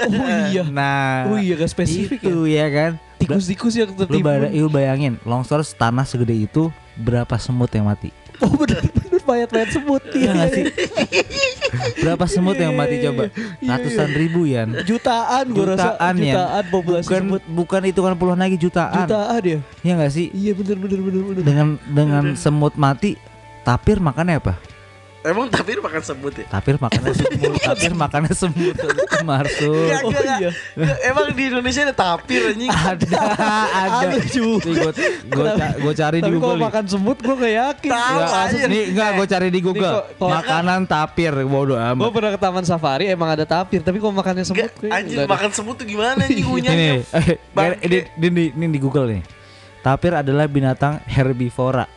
[SPEAKER 1] Oh iya.
[SPEAKER 2] Nah,
[SPEAKER 1] Oh iya gak spesifik ya.
[SPEAKER 2] itu ya, kan.
[SPEAKER 1] Tikus-tikus yang
[SPEAKER 2] Lu, bada-
[SPEAKER 1] tertimbun.
[SPEAKER 2] lu bayangin, longsor tanah segede itu berapa semut yang mati?
[SPEAKER 1] Oh bener bener mayat-mayat semut.
[SPEAKER 2] Iya
[SPEAKER 1] Iya
[SPEAKER 2] gak sih? berapa semut yang mati coba?
[SPEAKER 1] iya.
[SPEAKER 2] Ratusan ribu ya.
[SPEAKER 1] Jutaan gue rasa.
[SPEAKER 2] Jutaan ya.
[SPEAKER 1] Jutaan populasi
[SPEAKER 2] Bukan
[SPEAKER 1] semut.
[SPEAKER 2] bukan itu kan puluhan lagi jutaan. Nah,
[SPEAKER 1] Jutaan ya.
[SPEAKER 2] Iya gak sih?
[SPEAKER 1] Iya bener bener bener bener.
[SPEAKER 2] Dengan dengan semut mati, tapir makannya apa?
[SPEAKER 3] Emang tapi makan sebut ya?
[SPEAKER 2] Tapir makannya semut, tapir makannya semut Marsul.
[SPEAKER 3] Gak,
[SPEAKER 1] Oh,
[SPEAKER 3] gak, gak.
[SPEAKER 1] iya.
[SPEAKER 3] Gak, Emang di Indonesia ada tapir anjing.
[SPEAKER 2] Ada, ada.
[SPEAKER 1] Ada juga.
[SPEAKER 2] Gue gua, ca- gua cari di
[SPEAKER 1] Tapi kalau
[SPEAKER 2] Google. nih.
[SPEAKER 1] makan semut gue gak yakin.
[SPEAKER 3] Tahu
[SPEAKER 2] Nggak,
[SPEAKER 3] aja.
[SPEAKER 2] kasus- Nih, enggak gua cari di Google.
[SPEAKER 1] kok- kok-
[SPEAKER 2] Makanan tapir bodoh
[SPEAKER 1] Gue
[SPEAKER 2] amat.
[SPEAKER 1] pernah ke taman safari emang ada tapir, tapi kalau makannya semut
[SPEAKER 3] Gak,
[SPEAKER 1] kayaknya
[SPEAKER 3] anjing
[SPEAKER 1] iya. nggak ada.
[SPEAKER 3] makan sebut tuh gimana anjing
[SPEAKER 2] Ini,
[SPEAKER 3] ngunyahnya?
[SPEAKER 2] eh,
[SPEAKER 3] Bangke.
[SPEAKER 2] ini, ini, ini- ini di Google nih. Tapir adalah binatang herbivora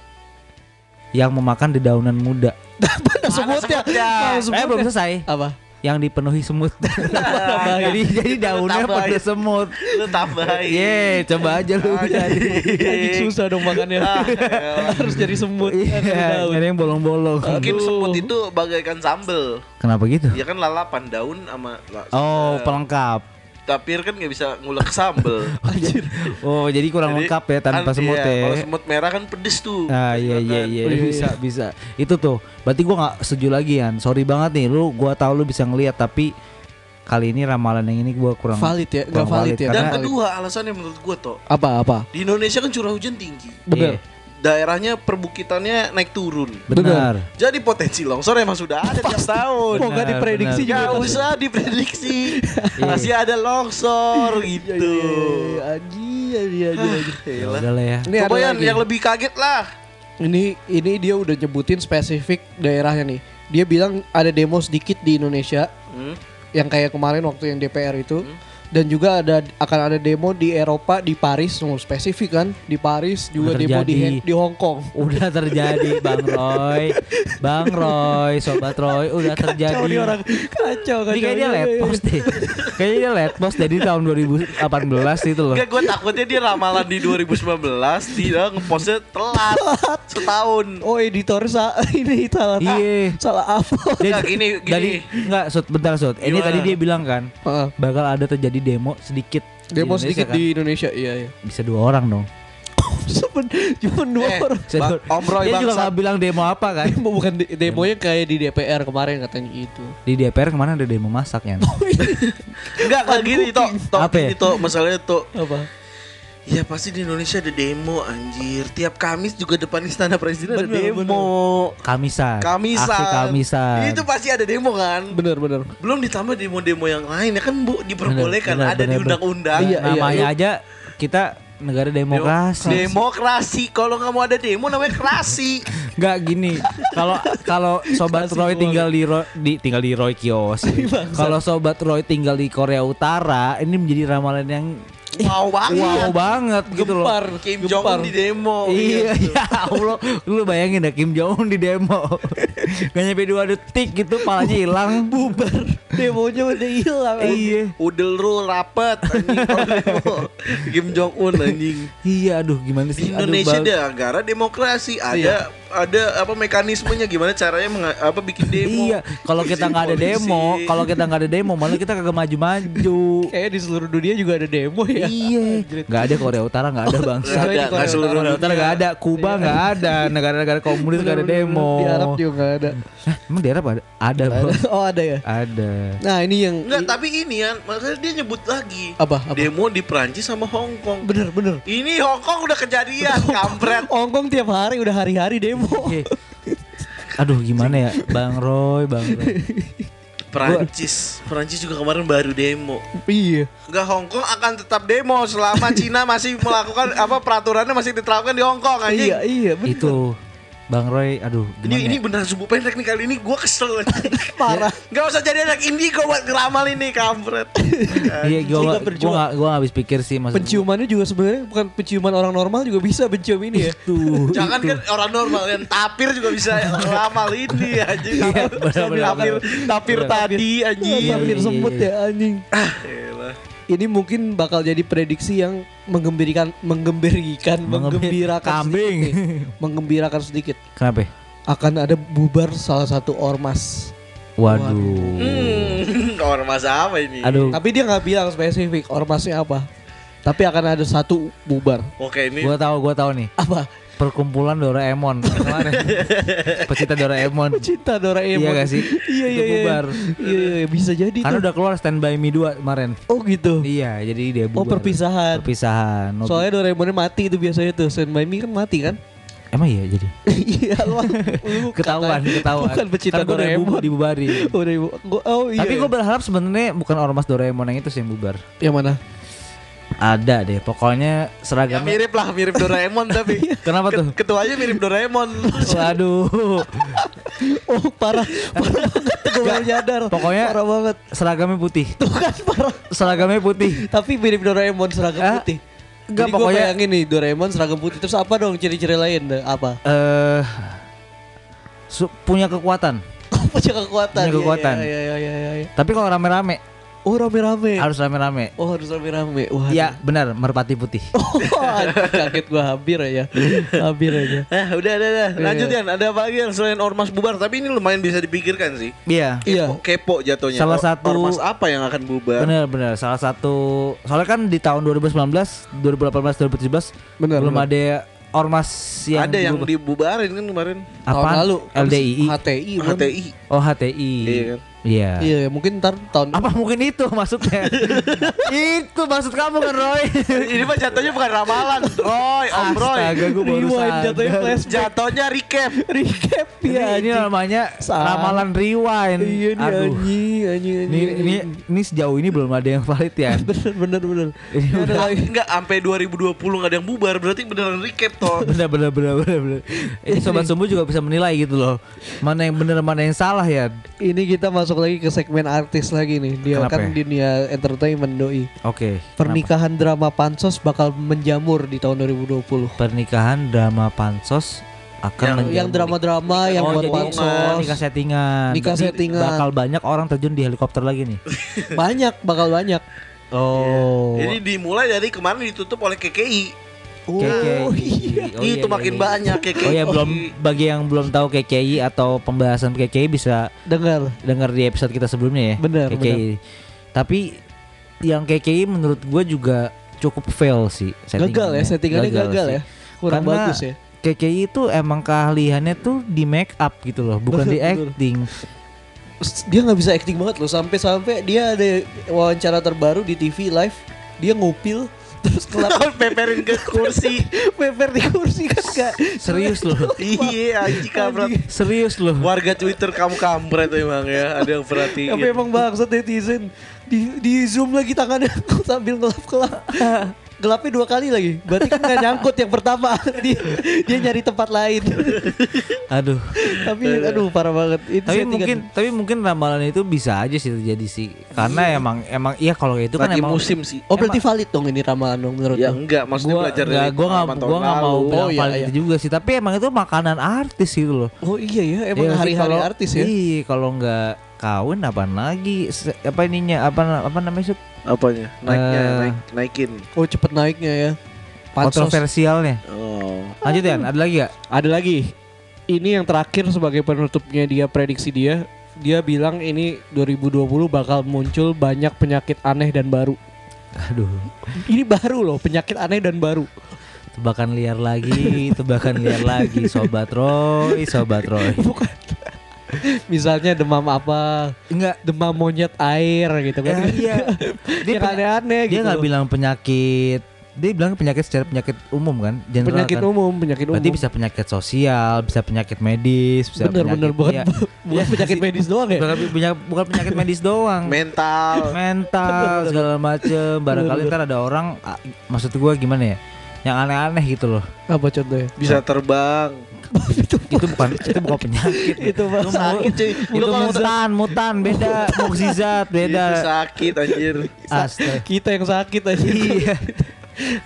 [SPEAKER 2] yang memakan dedaunan muda.
[SPEAKER 1] Ada semutnya.
[SPEAKER 3] semutnya.
[SPEAKER 1] Ada
[SPEAKER 2] Eh belum
[SPEAKER 1] semutnya.
[SPEAKER 2] selesai.
[SPEAKER 1] ya? Apa?
[SPEAKER 2] Yang dipenuhi semut. jadi jadi daunnya
[SPEAKER 3] Tambahin.
[SPEAKER 2] penuh semut.
[SPEAKER 3] Lu
[SPEAKER 1] Iya.
[SPEAKER 3] tambahin.
[SPEAKER 2] Ye, coba aja
[SPEAKER 1] Oh,
[SPEAKER 2] lu.
[SPEAKER 1] Anjing susah dong makannya.
[SPEAKER 3] Ah, elah.
[SPEAKER 1] Harus jadi semut. harus jadi
[SPEAKER 2] Iya,
[SPEAKER 1] daun.
[SPEAKER 2] ada yang bolong-bolong.
[SPEAKER 3] Mungkin
[SPEAKER 1] Aduh.
[SPEAKER 3] semut itu bagaikan sambel.
[SPEAKER 2] Kenapa gitu?
[SPEAKER 1] Iya.
[SPEAKER 3] Ya kan lalapan daun sama la-
[SPEAKER 2] Oh, pelengkap.
[SPEAKER 3] tapir kan nggak bisa ngulek sambel.
[SPEAKER 1] Anjir.
[SPEAKER 2] Oh, jadi kurang
[SPEAKER 3] Jadi,
[SPEAKER 2] lengkap ya tanpa
[SPEAKER 3] kan,
[SPEAKER 2] semut
[SPEAKER 3] iya, Kalau
[SPEAKER 2] ya.
[SPEAKER 3] semut merah kan pedes tuh.
[SPEAKER 2] Ah iya iya
[SPEAKER 3] Kan.
[SPEAKER 2] iya
[SPEAKER 1] Oh, iya,
[SPEAKER 2] bisa bisa. Itu tuh. Berarti gua nggak setuju lagi ya. Sorry banget nih lu gua tahu lu bisa ngelihat tapi kali ini ramalan yang ini gua kurang
[SPEAKER 1] Valid ya, nggak
[SPEAKER 2] kurang
[SPEAKER 1] valid ya.
[SPEAKER 2] Karena iya,
[SPEAKER 3] Dan kedua alasannya menurut gua toh
[SPEAKER 1] Apa apa?
[SPEAKER 3] di Indonesia kan curah hujan tinggi.
[SPEAKER 1] Bener.
[SPEAKER 2] Iya,
[SPEAKER 3] Daerahnya perbukitannya naik turun.
[SPEAKER 2] benar.
[SPEAKER 3] Jadi potensi longsor emang sudah ada tiap tahun.
[SPEAKER 1] Kok gak
[SPEAKER 2] Benar,
[SPEAKER 1] diprediksi
[SPEAKER 2] benar.
[SPEAKER 1] juga
[SPEAKER 3] Gak
[SPEAKER 1] kan?
[SPEAKER 3] usah diprediksi Masih ada longsor
[SPEAKER 1] Iya, iya,
[SPEAKER 3] gitu
[SPEAKER 1] iya, iya. Anjir, anjir, anjir, anjir.
[SPEAKER 2] Ya
[SPEAKER 3] Yalah.
[SPEAKER 2] udah lah ya.
[SPEAKER 1] iya. Ini ada
[SPEAKER 3] Coba yang,
[SPEAKER 1] lagi.
[SPEAKER 3] yang lebih kaget lah
[SPEAKER 1] Ini ini dia udah nyebutin spesifik daerahnya nih. Dia bilang ada demo sedikit di Indonesia
[SPEAKER 3] Hmm.
[SPEAKER 2] Hmm.
[SPEAKER 1] yang kayak kemarin waktu yang DPR itu dan juga ada akan ada demo di Eropa di Paris nomor spesifik kan di Paris juga demo di
[SPEAKER 2] Terjadi.
[SPEAKER 1] di Hong Kong
[SPEAKER 2] Udah terjadi Bang Roy Bang Roy Sobat Roy Udah terjadi
[SPEAKER 1] kacau nih orang kacau kacau
[SPEAKER 2] Ini kayaknya
[SPEAKER 1] Iya, iya, iya.
[SPEAKER 2] letpos deh Kayaknya dia letpos dari tahun 2018 itu loh
[SPEAKER 3] Enggak gue takutnya dia ramalan di 2019 Dia ngepostnya eh, telat Setahun
[SPEAKER 1] oh editor sa ini salah
[SPEAKER 2] Iya.
[SPEAKER 1] salah apa
[SPEAKER 3] Enggak, gini, gini.
[SPEAKER 2] Dari, enggak, Sud, bentar Sud. Ini
[SPEAKER 3] Gimana?
[SPEAKER 2] tadi dia bilang kan
[SPEAKER 1] Heeh.
[SPEAKER 2] bakal ada terjadi demo sedikit. di
[SPEAKER 1] demo
[SPEAKER 2] Indonesia
[SPEAKER 1] sedikit
[SPEAKER 2] kan.
[SPEAKER 1] di Indonesia iya iya
[SPEAKER 2] bisa dua orang dong.
[SPEAKER 1] Sepen- cuma dua
[SPEAKER 3] Eh,
[SPEAKER 1] orang
[SPEAKER 2] Bisa
[SPEAKER 3] Bang-
[SPEAKER 2] dua-
[SPEAKER 3] Om Roy
[SPEAKER 2] dia juga
[SPEAKER 3] bangsat.
[SPEAKER 2] nggak bilang demo apa kan?
[SPEAKER 1] demo bukan de- demonya kayak di DPR kemarin katanya gitu. itu
[SPEAKER 2] Di DPR kemana ada demo masak ya?
[SPEAKER 3] Enggak enggak gini itu
[SPEAKER 2] Apa ya?
[SPEAKER 3] itu masalahnya tuh
[SPEAKER 1] apa
[SPEAKER 3] Ya pasti di Indonesia ada demo anjir Tiap Kamis juga depan istana presiden ada
[SPEAKER 1] Bener,
[SPEAKER 3] demo
[SPEAKER 2] Kamisan.
[SPEAKER 3] Kamisan
[SPEAKER 2] Aksi Kamisan.
[SPEAKER 3] Itu pasti ada demo kan
[SPEAKER 1] bener bener
[SPEAKER 3] Belum ditambah demo-demo yang lain ya kan bu diperbolehkan
[SPEAKER 2] Bener, bener,
[SPEAKER 3] ada di
[SPEAKER 2] bener, bener.
[SPEAKER 3] undang-undang
[SPEAKER 1] Iya,
[SPEAKER 2] Namanya aja kita negara demokrasi.
[SPEAKER 3] Demokrasi Kalau nggak mau ada demo namanya kerasi
[SPEAKER 2] Enggak gini. Kalau kalau sobat Roy tinggal di, Roy, di tinggal di Roy Kios. Kalau sobat Roy tinggal di Korea Utara, ini menjadi ramalan yang
[SPEAKER 3] Wow banget
[SPEAKER 2] wow banget gitu loh.
[SPEAKER 1] gempar
[SPEAKER 3] Kim Jong Un di demo
[SPEAKER 2] iya, ya Allah, lu bayangin dah Kim Jong Un di demo. Gak nyampe dua detik gitu palanya hilang.
[SPEAKER 1] bubar demonya udah hilang
[SPEAKER 2] iya.
[SPEAKER 3] Udel rule rapet anjing kalau demo. Kim Jong Un anjing.
[SPEAKER 2] Iya, aduh gimana
[SPEAKER 3] Di
[SPEAKER 2] sih?
[SPEAKER 3] Indonesia
[SPEAKER 2] aduh, Bang. Iya.
[SPEAKER 3] ada negara demokrasi, ada ada apa mekanismenya gimana caranya menga- apa bikin demo.
[SPEAKER 2] Iya, kalau kita nggak ada
[SPEAKER 3] Polisi.
[SPEAKER 2] demo, kalau kita nggak ada demo malah kita kagak maju-maju.
[SPEAKER 1] kayaknya di seluruh dunia juga ada demo ya
[SPEAKER 2] iya. Nggak ada Korea Utara nggak ada bang.
[SPEAKER 3] Nggak ada, nggak seluruh
[SPEAKER 2] Korea Utara nggak ada, Kuba nggak ada, negara-negara komunis nggak ada demo.
[SPEAKER 1] di Arab juga nggak ada
[SPEAKER 2] Hah, emang di Arab ada? Ada bro.
[SPEAKER 1] oh ada ya
[SPEAKER 2] Ada.
[SPEAKER 1] nah ini yang
[SPEAKER 3] Enggak, tapi ini ya, makanya dia nyebut lagi.
[SPEAKER 1] Apa, apa?
[SPEAKER 3] Demo di Perancis sama Hong Kong.
[SPEAKER 1] bener bener
[SPEAKER 3] Ini Hong Kong udah kejadian, kampret.
[SPEAKER 1] Hong Kong tiap hari udah hari-hari demo
[SPEAKER 2] Oke. Aduh gimana ya, Bang Roy, Bang Roy.
[SPEAKER 3] Perancis, Perancis juga kemarin baru demo.
[SPEAKER 1] iya
[SPEAKER 3] Enggak Hong Kong akan tetap demo selama Cina masih melakukan apa peraturannya masih diterapkan di Hong Kong anjing.
[SPEAKER 1] iya iya bener.
[SPEAKER 2] Itu Bang Roy, aduh
[SPEAKER 3] Ini
[SPEAKER 2] gimana
[SPEAKER 3] ini
[SPEAKER 2] ya?
[SPEAKER 3] beneran sumbu pendek nih kali ini gua kesel
[SPEAKER 1] Parah.
[SPEAKER 3] Gak usah jadi anak indigo buat ngeramal ini kampret.
[SPEAKER 2] Iya
[SPEAKER 1] Liga
[SPEAKER 2] gua gua
[SPEAKER 1] berjuang.
[SPEAKER 2] gak, gua gak habis pikir sih maksud
[SPEAKER 1] penciumannya juga sebenarnya bukan penciuman orang normal juga bisa mencium ini ya
[SPEAKER 2] Tuh.
[SPEAKER 3] Jangan kan orang normal yang tapir juga bisa ngeramal ini anjing.
[SPEAKER 2] Iya, bener-bener.
[SPEAKER 3] tapir tapir
[SPEAKER 2] Bener.
[SPEAKER 3] tadi anjing.
[SPEAKER 2] Iya,
[SPEAKER 1] Tapi
[SPEAKER 2] iya, iya,
[SPEAKER 1] semut
[SPEAKER 2] iya.
[SPEAKER 1] ya anjing
[SPEAKER 3] Elah.
[SPEAKER 1] ini mungkin bakal jadi prediksi yang menggembirikan menggembirikan
[SPEAKER 2] Mengembir-
[SPEAKER 1] menggembirakan
[SPEAKER 2] kambing.
[SPEAKER 1] sedikit. menggembirakan sedikit
[SPEAKER 2] Kenapa? ya?
[SPEAKER 1] akan ada bubar salah satu ormas
[SPEAKER 2] Waduh.
[SPEAKER 3] Hmm, ormas apa ini?
[SPEAKER 2] Aduh.
[SPEAKER 1] tapi dia nggak bilang spesifik ormasnya apa tapi akan ada satu bubar
[SPEAKER 3] Oke ini
[SPEAKER 2] Gua tahu, gua tahu nih.
[SPEAKER 1] apa
[SPEAKER 2] Perkumpulan Doraemon. Kemarin. Pecinta Doraemon.
[SPEAKER 1] cinta Doraemon
[SPEAKER 2] Iya gak sih?
[SPEAKER 1] iya iya
[SPEAKER 2] Itu
[SPEAKER 1] iya
[SPEAKER 2] bubar.
[SPEAKER 1] iya iya, bisa jadi
[SPEAKER 2] Karena
[SPEAKER 1] tuh
[SPEAKER 2] udah keluar Stand By Me 2 kemarin.
[SPEAKER 1] oh gitu
[SPEAKER 2] Iya, jadi dia
[SPEAKER 1] oh
[SPEAKER 2] bubar.
[SPEAKER 1] perpisahan
[SPEAKER 2] Perpisahan. No-
[SPEAKER 1] soalnya Doraemonnya mati itu biasanya tuh Stand By Me kan mati kan
[SPEAKER 2] Emang iya jadi.
[SPEAKER 1] iya lu lu
[SPEAKER 2] Ketahuan,
[SPEAKER 1] katanya.
[SPEAKER 2] ketahuan.
[SPEAKER 1] bukan pecinta
[SPEAKER 2] Karena gua udah
[SPEAKER 1] Doraemon
[SPEAKER 2] bu- dibubarin.
[SPEAKER 1] Udah ibu. Gua, oh iya.
[SPEAKER 2] Tapi
[SPEAKER 1] ya.
[SPEAKER 2] gue berharap sebenarnya bukan ormas Doraemon yang itu sih yang bubar.
[SPEAKER 1] yang mana?
[SPEAKER 2] Ada deh, pokoknya
[SPEAKER 3] ya,
[SPEAKER 2] seragamnya.
[SPEAKER 3] mirip lah mirip Doraemon tapi
[SPEAKER 2] Kenapa tuh?
[SPEAKER 3] Ket- ketuanya mirip Doraemon.
[SPEAKER 2] Waduh.
[SPEAKER 1] Oh parah, parah banget. Gue baru nyadar.
[SPEAKER 2] pokoknya-
[SPEAKER 1] parah banget.
[SPEAKER 2] Seragamnya putih.
[SPEAKER 1] Tuh kan parah.
[SPEAKER 2] Seragamnya putih.
[SPEAKER 1] Tapi mirip Doraemon seragam
[SPEAKER 2] Ah,
[SPEAKER 1] putih.
[SPEAKER 2] enggak,
[SPEAKER 1] Jadi gua
[SPEAKER 2] pokoknya-
[SPEAKER 1] bayangin nih Doraemon seragam putih terus apa dong ciri-ciri lain Dah, apa?
[SPEAKER 2] Eh su- punya kekuatan.
[SPEAKER 1] Punya kekuatan.
[SPEAKER 2] Punya kekuatan.
[SPEAKER 1] Iya iya iya iya. iya.
[SPEAKER 2] Tapi kalau rame-rame
[SPEAKER 1] Oh rame-rame.
[SPEAKER 2] harus rame-rame.
[SPEAKER 1] Oh harus rame-rame. Wah.
[SPEAKER 2] Iya, benar, merpati putih.
[SPEAKER 1] Oh, aduh, kaget gua hampir aja. Hampir aja.
[SPEAKER 3] Eh, udah, udah, udah.
[SPEAKER 2] Iya.
[SPEAKER 3] Lanjut Yan. ada apa lagi yang selain ormas bubar? Tapi ini lumayan bisa dipikirkan sih.
[SPEAKER 2] Iya.
[SPEAKER 1] Iya.
[SPEAKER 3] Kepo, kepo jatuhnya.
[SPEAKER 2] Salah
[SPEAKER 3] Or-
[SPEAKER 2] satu-
[SPEAKER 3] ormas apa yang akan bubar?
[SPEAKER 2] Benar-benar salah satu soalnya kan di tahun 2019, 2018, 2017
[SPEAKER 1] Benar,
[SPEAKER 2] belum
[SPEAKER 1] benar.
[SPEAKER 2] ada ormas yang
[SPEAKER 3] ada yang
[SPEAKER 2] dibubar.
[SPEAKER 3] dibubarin kan kemarin.
[SPEAKER 2] Apaan?
[SPEAKER 1] Tahun lalu
[SPEAKER 2] LDII.
[SPEAKER 1] HTI. bukan?
[SPEAKER 3] HTI.
[SPEAKER 2] Oh, HTI.
[SPEAKER 3] Iya kan?
[SPEAKER 2] Iya.
[SPEAKER 1] Iya, mungkin ntar tahun
[SPEAKER 2] Apa mungkin itu maksudnya? itu maksud kamu kan Roy?
[SPEAKER 3] ini mah jatuhnya bukan ramalan, Roy, Om Roy.
[SPEAKER 2] Astaga, gue baru
[SPEAKER 1] Rewind,
[SPEAKER 2] sadar. Iya,
[SPEAKER 1] jatuhnya flashback.
[SPEAKER 3] Jatuhnya recap.
[SPEAKER 1] recap
[SPEAKER 2] Ini,
[SPEAKER 1] ya.
[SPEAKER 2] ini
[SPEAKER 1] anjing.
[SPEAKER 2] namanya
[SPEAKER 1] Sa-
[SPEAKER 2] ramalan rewind.
[SPEAKER 1] Iya nih
[SPEAKER 2] Aduh.
[SPEAKER 1] anjing, anjing,
[SPEAKER 2] Ini,
[SPEAKER 1] anjing.
[SPEAKER 2] ini, ini sejauh ini belum ada yang valid ya.
[SPEAKER 1] bener bener bener. Ini
[SPEAKER 2] Ini
[SPEAKER 1] ada
[SPEAKER 2] udah-
[SPEAKER 1] lagi.
[SPEAKER 3] Enggak sampai 2020 nggak ada yang bubar, berarti beneran recap toh.
[SPEAKER 2] bener bener bener bener bener. Ini sobat sumbu juga bisa menilai gitu loh. Mana yang bener mana yang salah ya.
[SPEAKER 1] Ini kita masuk masuk lagi ke segmen artis lagi nih. Dia
[SPEAKER 2] Kenapa
[SPEAKER 1] kan
[SPEAKER 2] ya?
[SPEAKER 1] dunia entertainment doi.
[SPEAKER 2] Oke. kenapa?
[SPEAKER 1] Pernikahan drama Pansos bakal menjamur di tahun 2020.
[SPEAKER 2] Pernikahan drama pansos
[SPEAKER 3] Yang-
[SPEAKER 2] akan
[SPEAKER 1] Yang drama-drama yang
[SPEAKER 2] Oh,
[SPEAKER 1] buat
[SPEAKER 2] jadi
[SPEAKER 1] Pansos.
[SPEAKER 2] nikah settingan.
[SPEAKER 1] Nikah
[SPEAKER 2] Jadi
[SPEAKER 1] settingan.
[SPEAKER 2] Bakal banyak orang terjun di helikopter lagi nih.
[SPEAKER 1] Banyak bakal banyak.
[SPEAKER 2] Oh.
[SPEAKER 3] Jadi dimulai dari kemarin ditutup oleh KKI.
[SPEAKER 2] KKI.
[SPEAKER 1] Oh, iya.
[SPEAKER 2] Oh, iya,
[SPEAKER 3] itu
[SPEAKER 2] iya,
[SPEAKER 3] makin
[SPEAKER 2] iya.
[SPEAKER 3] banyak KKI.
[SPEAKER 2] Oh ya belum bagi yang belum tahu KKI atau pembahasan KKI bisa
[SPEAKER 1] Dengar.
[SPEAKER 2] dengar di episode kita sebelumnya ya.
[SPEAKER 1] Benar,
[SPEAKER 2] KKI. Tapi yang KKI menurut gua juga cukup fail sih
[SPEAKER 1] Gagal ya settingannya gagal,
[SPEAKER 2] sih.
[SPEAKER 1] ya. Kurang
[SPEAKER 2] Karena-
[SPEAKER 1] bagus ya.
[SPEAKER 2] KKI itu emang keahliannya tuh di make up gitu loh, bukan
[SPEAKER 1] Betul,
[SPEAKER 2] di
[SPEAKER 1] betul.
[SPEAKER 2] acting.
[SPEAKER 1] S- Dia nggak bisa acting banget loh sampai-sampai dia ada wawancara terbaru di TV live, dia ngupil terus kelap
[SPEAKER 3] Peperin ke kursi.
[SPEAKER 1] meper di kursi kan nggak
[SPEAKER 2] Serius loh.
[SPEAKER 3] iya, anjing kabret.
[SPEAKER 2] Serius loh.
[SPEAKER 3] Warga Twitter kamu kampret emang ya. Ada yang perhatiin.
[SPEAKER 1] Tapi emang bangsat netizen di, di zoom lagi tangannya sambil ngelap kelap gelapnya dua kali lagi berarti kan nggak nyangkut yang pertama dia, dia nyari tempat lain
[SPEAKER 2] Aduh.
[SPEAKER 1] tapi aduh parah banget itu
[SPEAKER 2] Tapi
[SPEAKER 1] settingan.
[SPEAKER 2] mungkin tapi mungkin ramalan itu bisa aja sih terjadi sih. Karena emang emang iya kalau itu kan
[SPEAKER 3] Lagi
[SPEAKER 2] emang
[SPEAKER 3] musim sih.
[SPEAKER 1] oh berarti valid dong ini ramalan dong menurut
[SPEAKER 3] Ya
[SPEAKER 1] lo?
[SPEAKER 3] enggak, maksudnya
[SPEAKER 2] gua
[SPEAKER 3] belajar
[SPEAKER 2] nggak-
[SPEAKER 3] dari
[SPEAKER 2] gua nggak
[SPEAKER 3] pengalaman tahun
[SPEAKER 2] gua nggak mau
[SPEAKER 3] lalu.
[SPEAKER 2] bilang
[SPEAKER 1] Oh, iya,
[SPEAKER 2] paling
[SPEAKER 1] iya.
[SPEAKER 2] itu juga sih, tapi emang itu makanan artis gitu loh.
[SPEAKER 1] oh iya ya emang
[SPEAKER 2] Ya,
[SPEAKER 1] hari-hari
[SPEAKER 2] kalau-
[SPEAKER 1] artis ya
[SPEAKER 2] Iya, kalau nggak kawin apaan lagi Se- apa ininya apa apa namanya Sup?
[SPEAKER 3] Apanya? Naiknya,
[SPEAKER 2] Eh.
[SPEAKER 3] naik, naikin.
[SPEAKER 1] oh cepet naiknya ya Pansos
[SPEAKER 2] kontroversialnya
[SPEAKER 3] Oh.
[SPEAKER 2] lanjut ya ada lagi gak?
[SPEAKER 1] ada lagi ini yang terakhir sebagai penutupnya dia prediksi dia dia bilang ini 2020 bakal muncul banyak penyakit aneh dan baru
[SPEAKER 2] aduh
[SPEAKER 1] ini baru loh penyakit aneh dan baru
[SPEAKER 2] Tebakan liar lagi, tebakan liar lagi, sobat Roy, sobat Roy.
[SPEAKER 1] bukan misalnya demam apa
[SPEAKER 2] Enggak.
[SPEAKER 1] demam monyet air gitu kan
[SPEAKER 2] iya. Dia
[SPEAKER 1] Yang aneh-aneh
[SPEAKER 2] dia
[SPEAKER 1] gitu
[SPEAKER 2] nggak bilang penyakit. Dia bilang penyakit secara penyakit umum kan, general
[SPEAKER 1] penyakit
[SPEAKER 2] kan.
[SPEAKER 1] umum penyakit umum
[SPEAKER 2] Berarti bisa penyakit sosial, bisa penyakit medis, bisa
[SPEAKER 1] bener bener
[SPEAKER 2] penyakit
[SPEAKER 1] bukan
[SPEAKER 2] iya.
[SPEAKER 1] bukan penyakit medis doang ya
[SPEAKER 2] bukan, penyak- bukan penyakit medis doang.
[SPEAKER 1] Oh.
[SPEAKER 3] Mental.
[SPEAKER 2] mental segala macem barangkali ntar ada orang ah, maksud gua gimana ya yang aneh-aneh gitu loh
[SPEAKER 1] apa contohnya
[SPEAKER 3] bisa terbang.
[SPEAKER 2] itu bukan itu bukan penyakit
[SPEAKER 1] itu
[SPEAKER 3] Lu sakit cuy.
[SPEAKER 2] itu
[SPEAKER 3] Lu kalau ter-
[SPEAKER 2] mutan mutan beda mukjizat beda
[SPEAKER 1] Iya,
[SPEAKER 3] Itu sakit anjir.
[SPEAKER 2] Astaga.
[SPEAKER 1] kita yang sakit aja
[SPEAKER 2] Iya.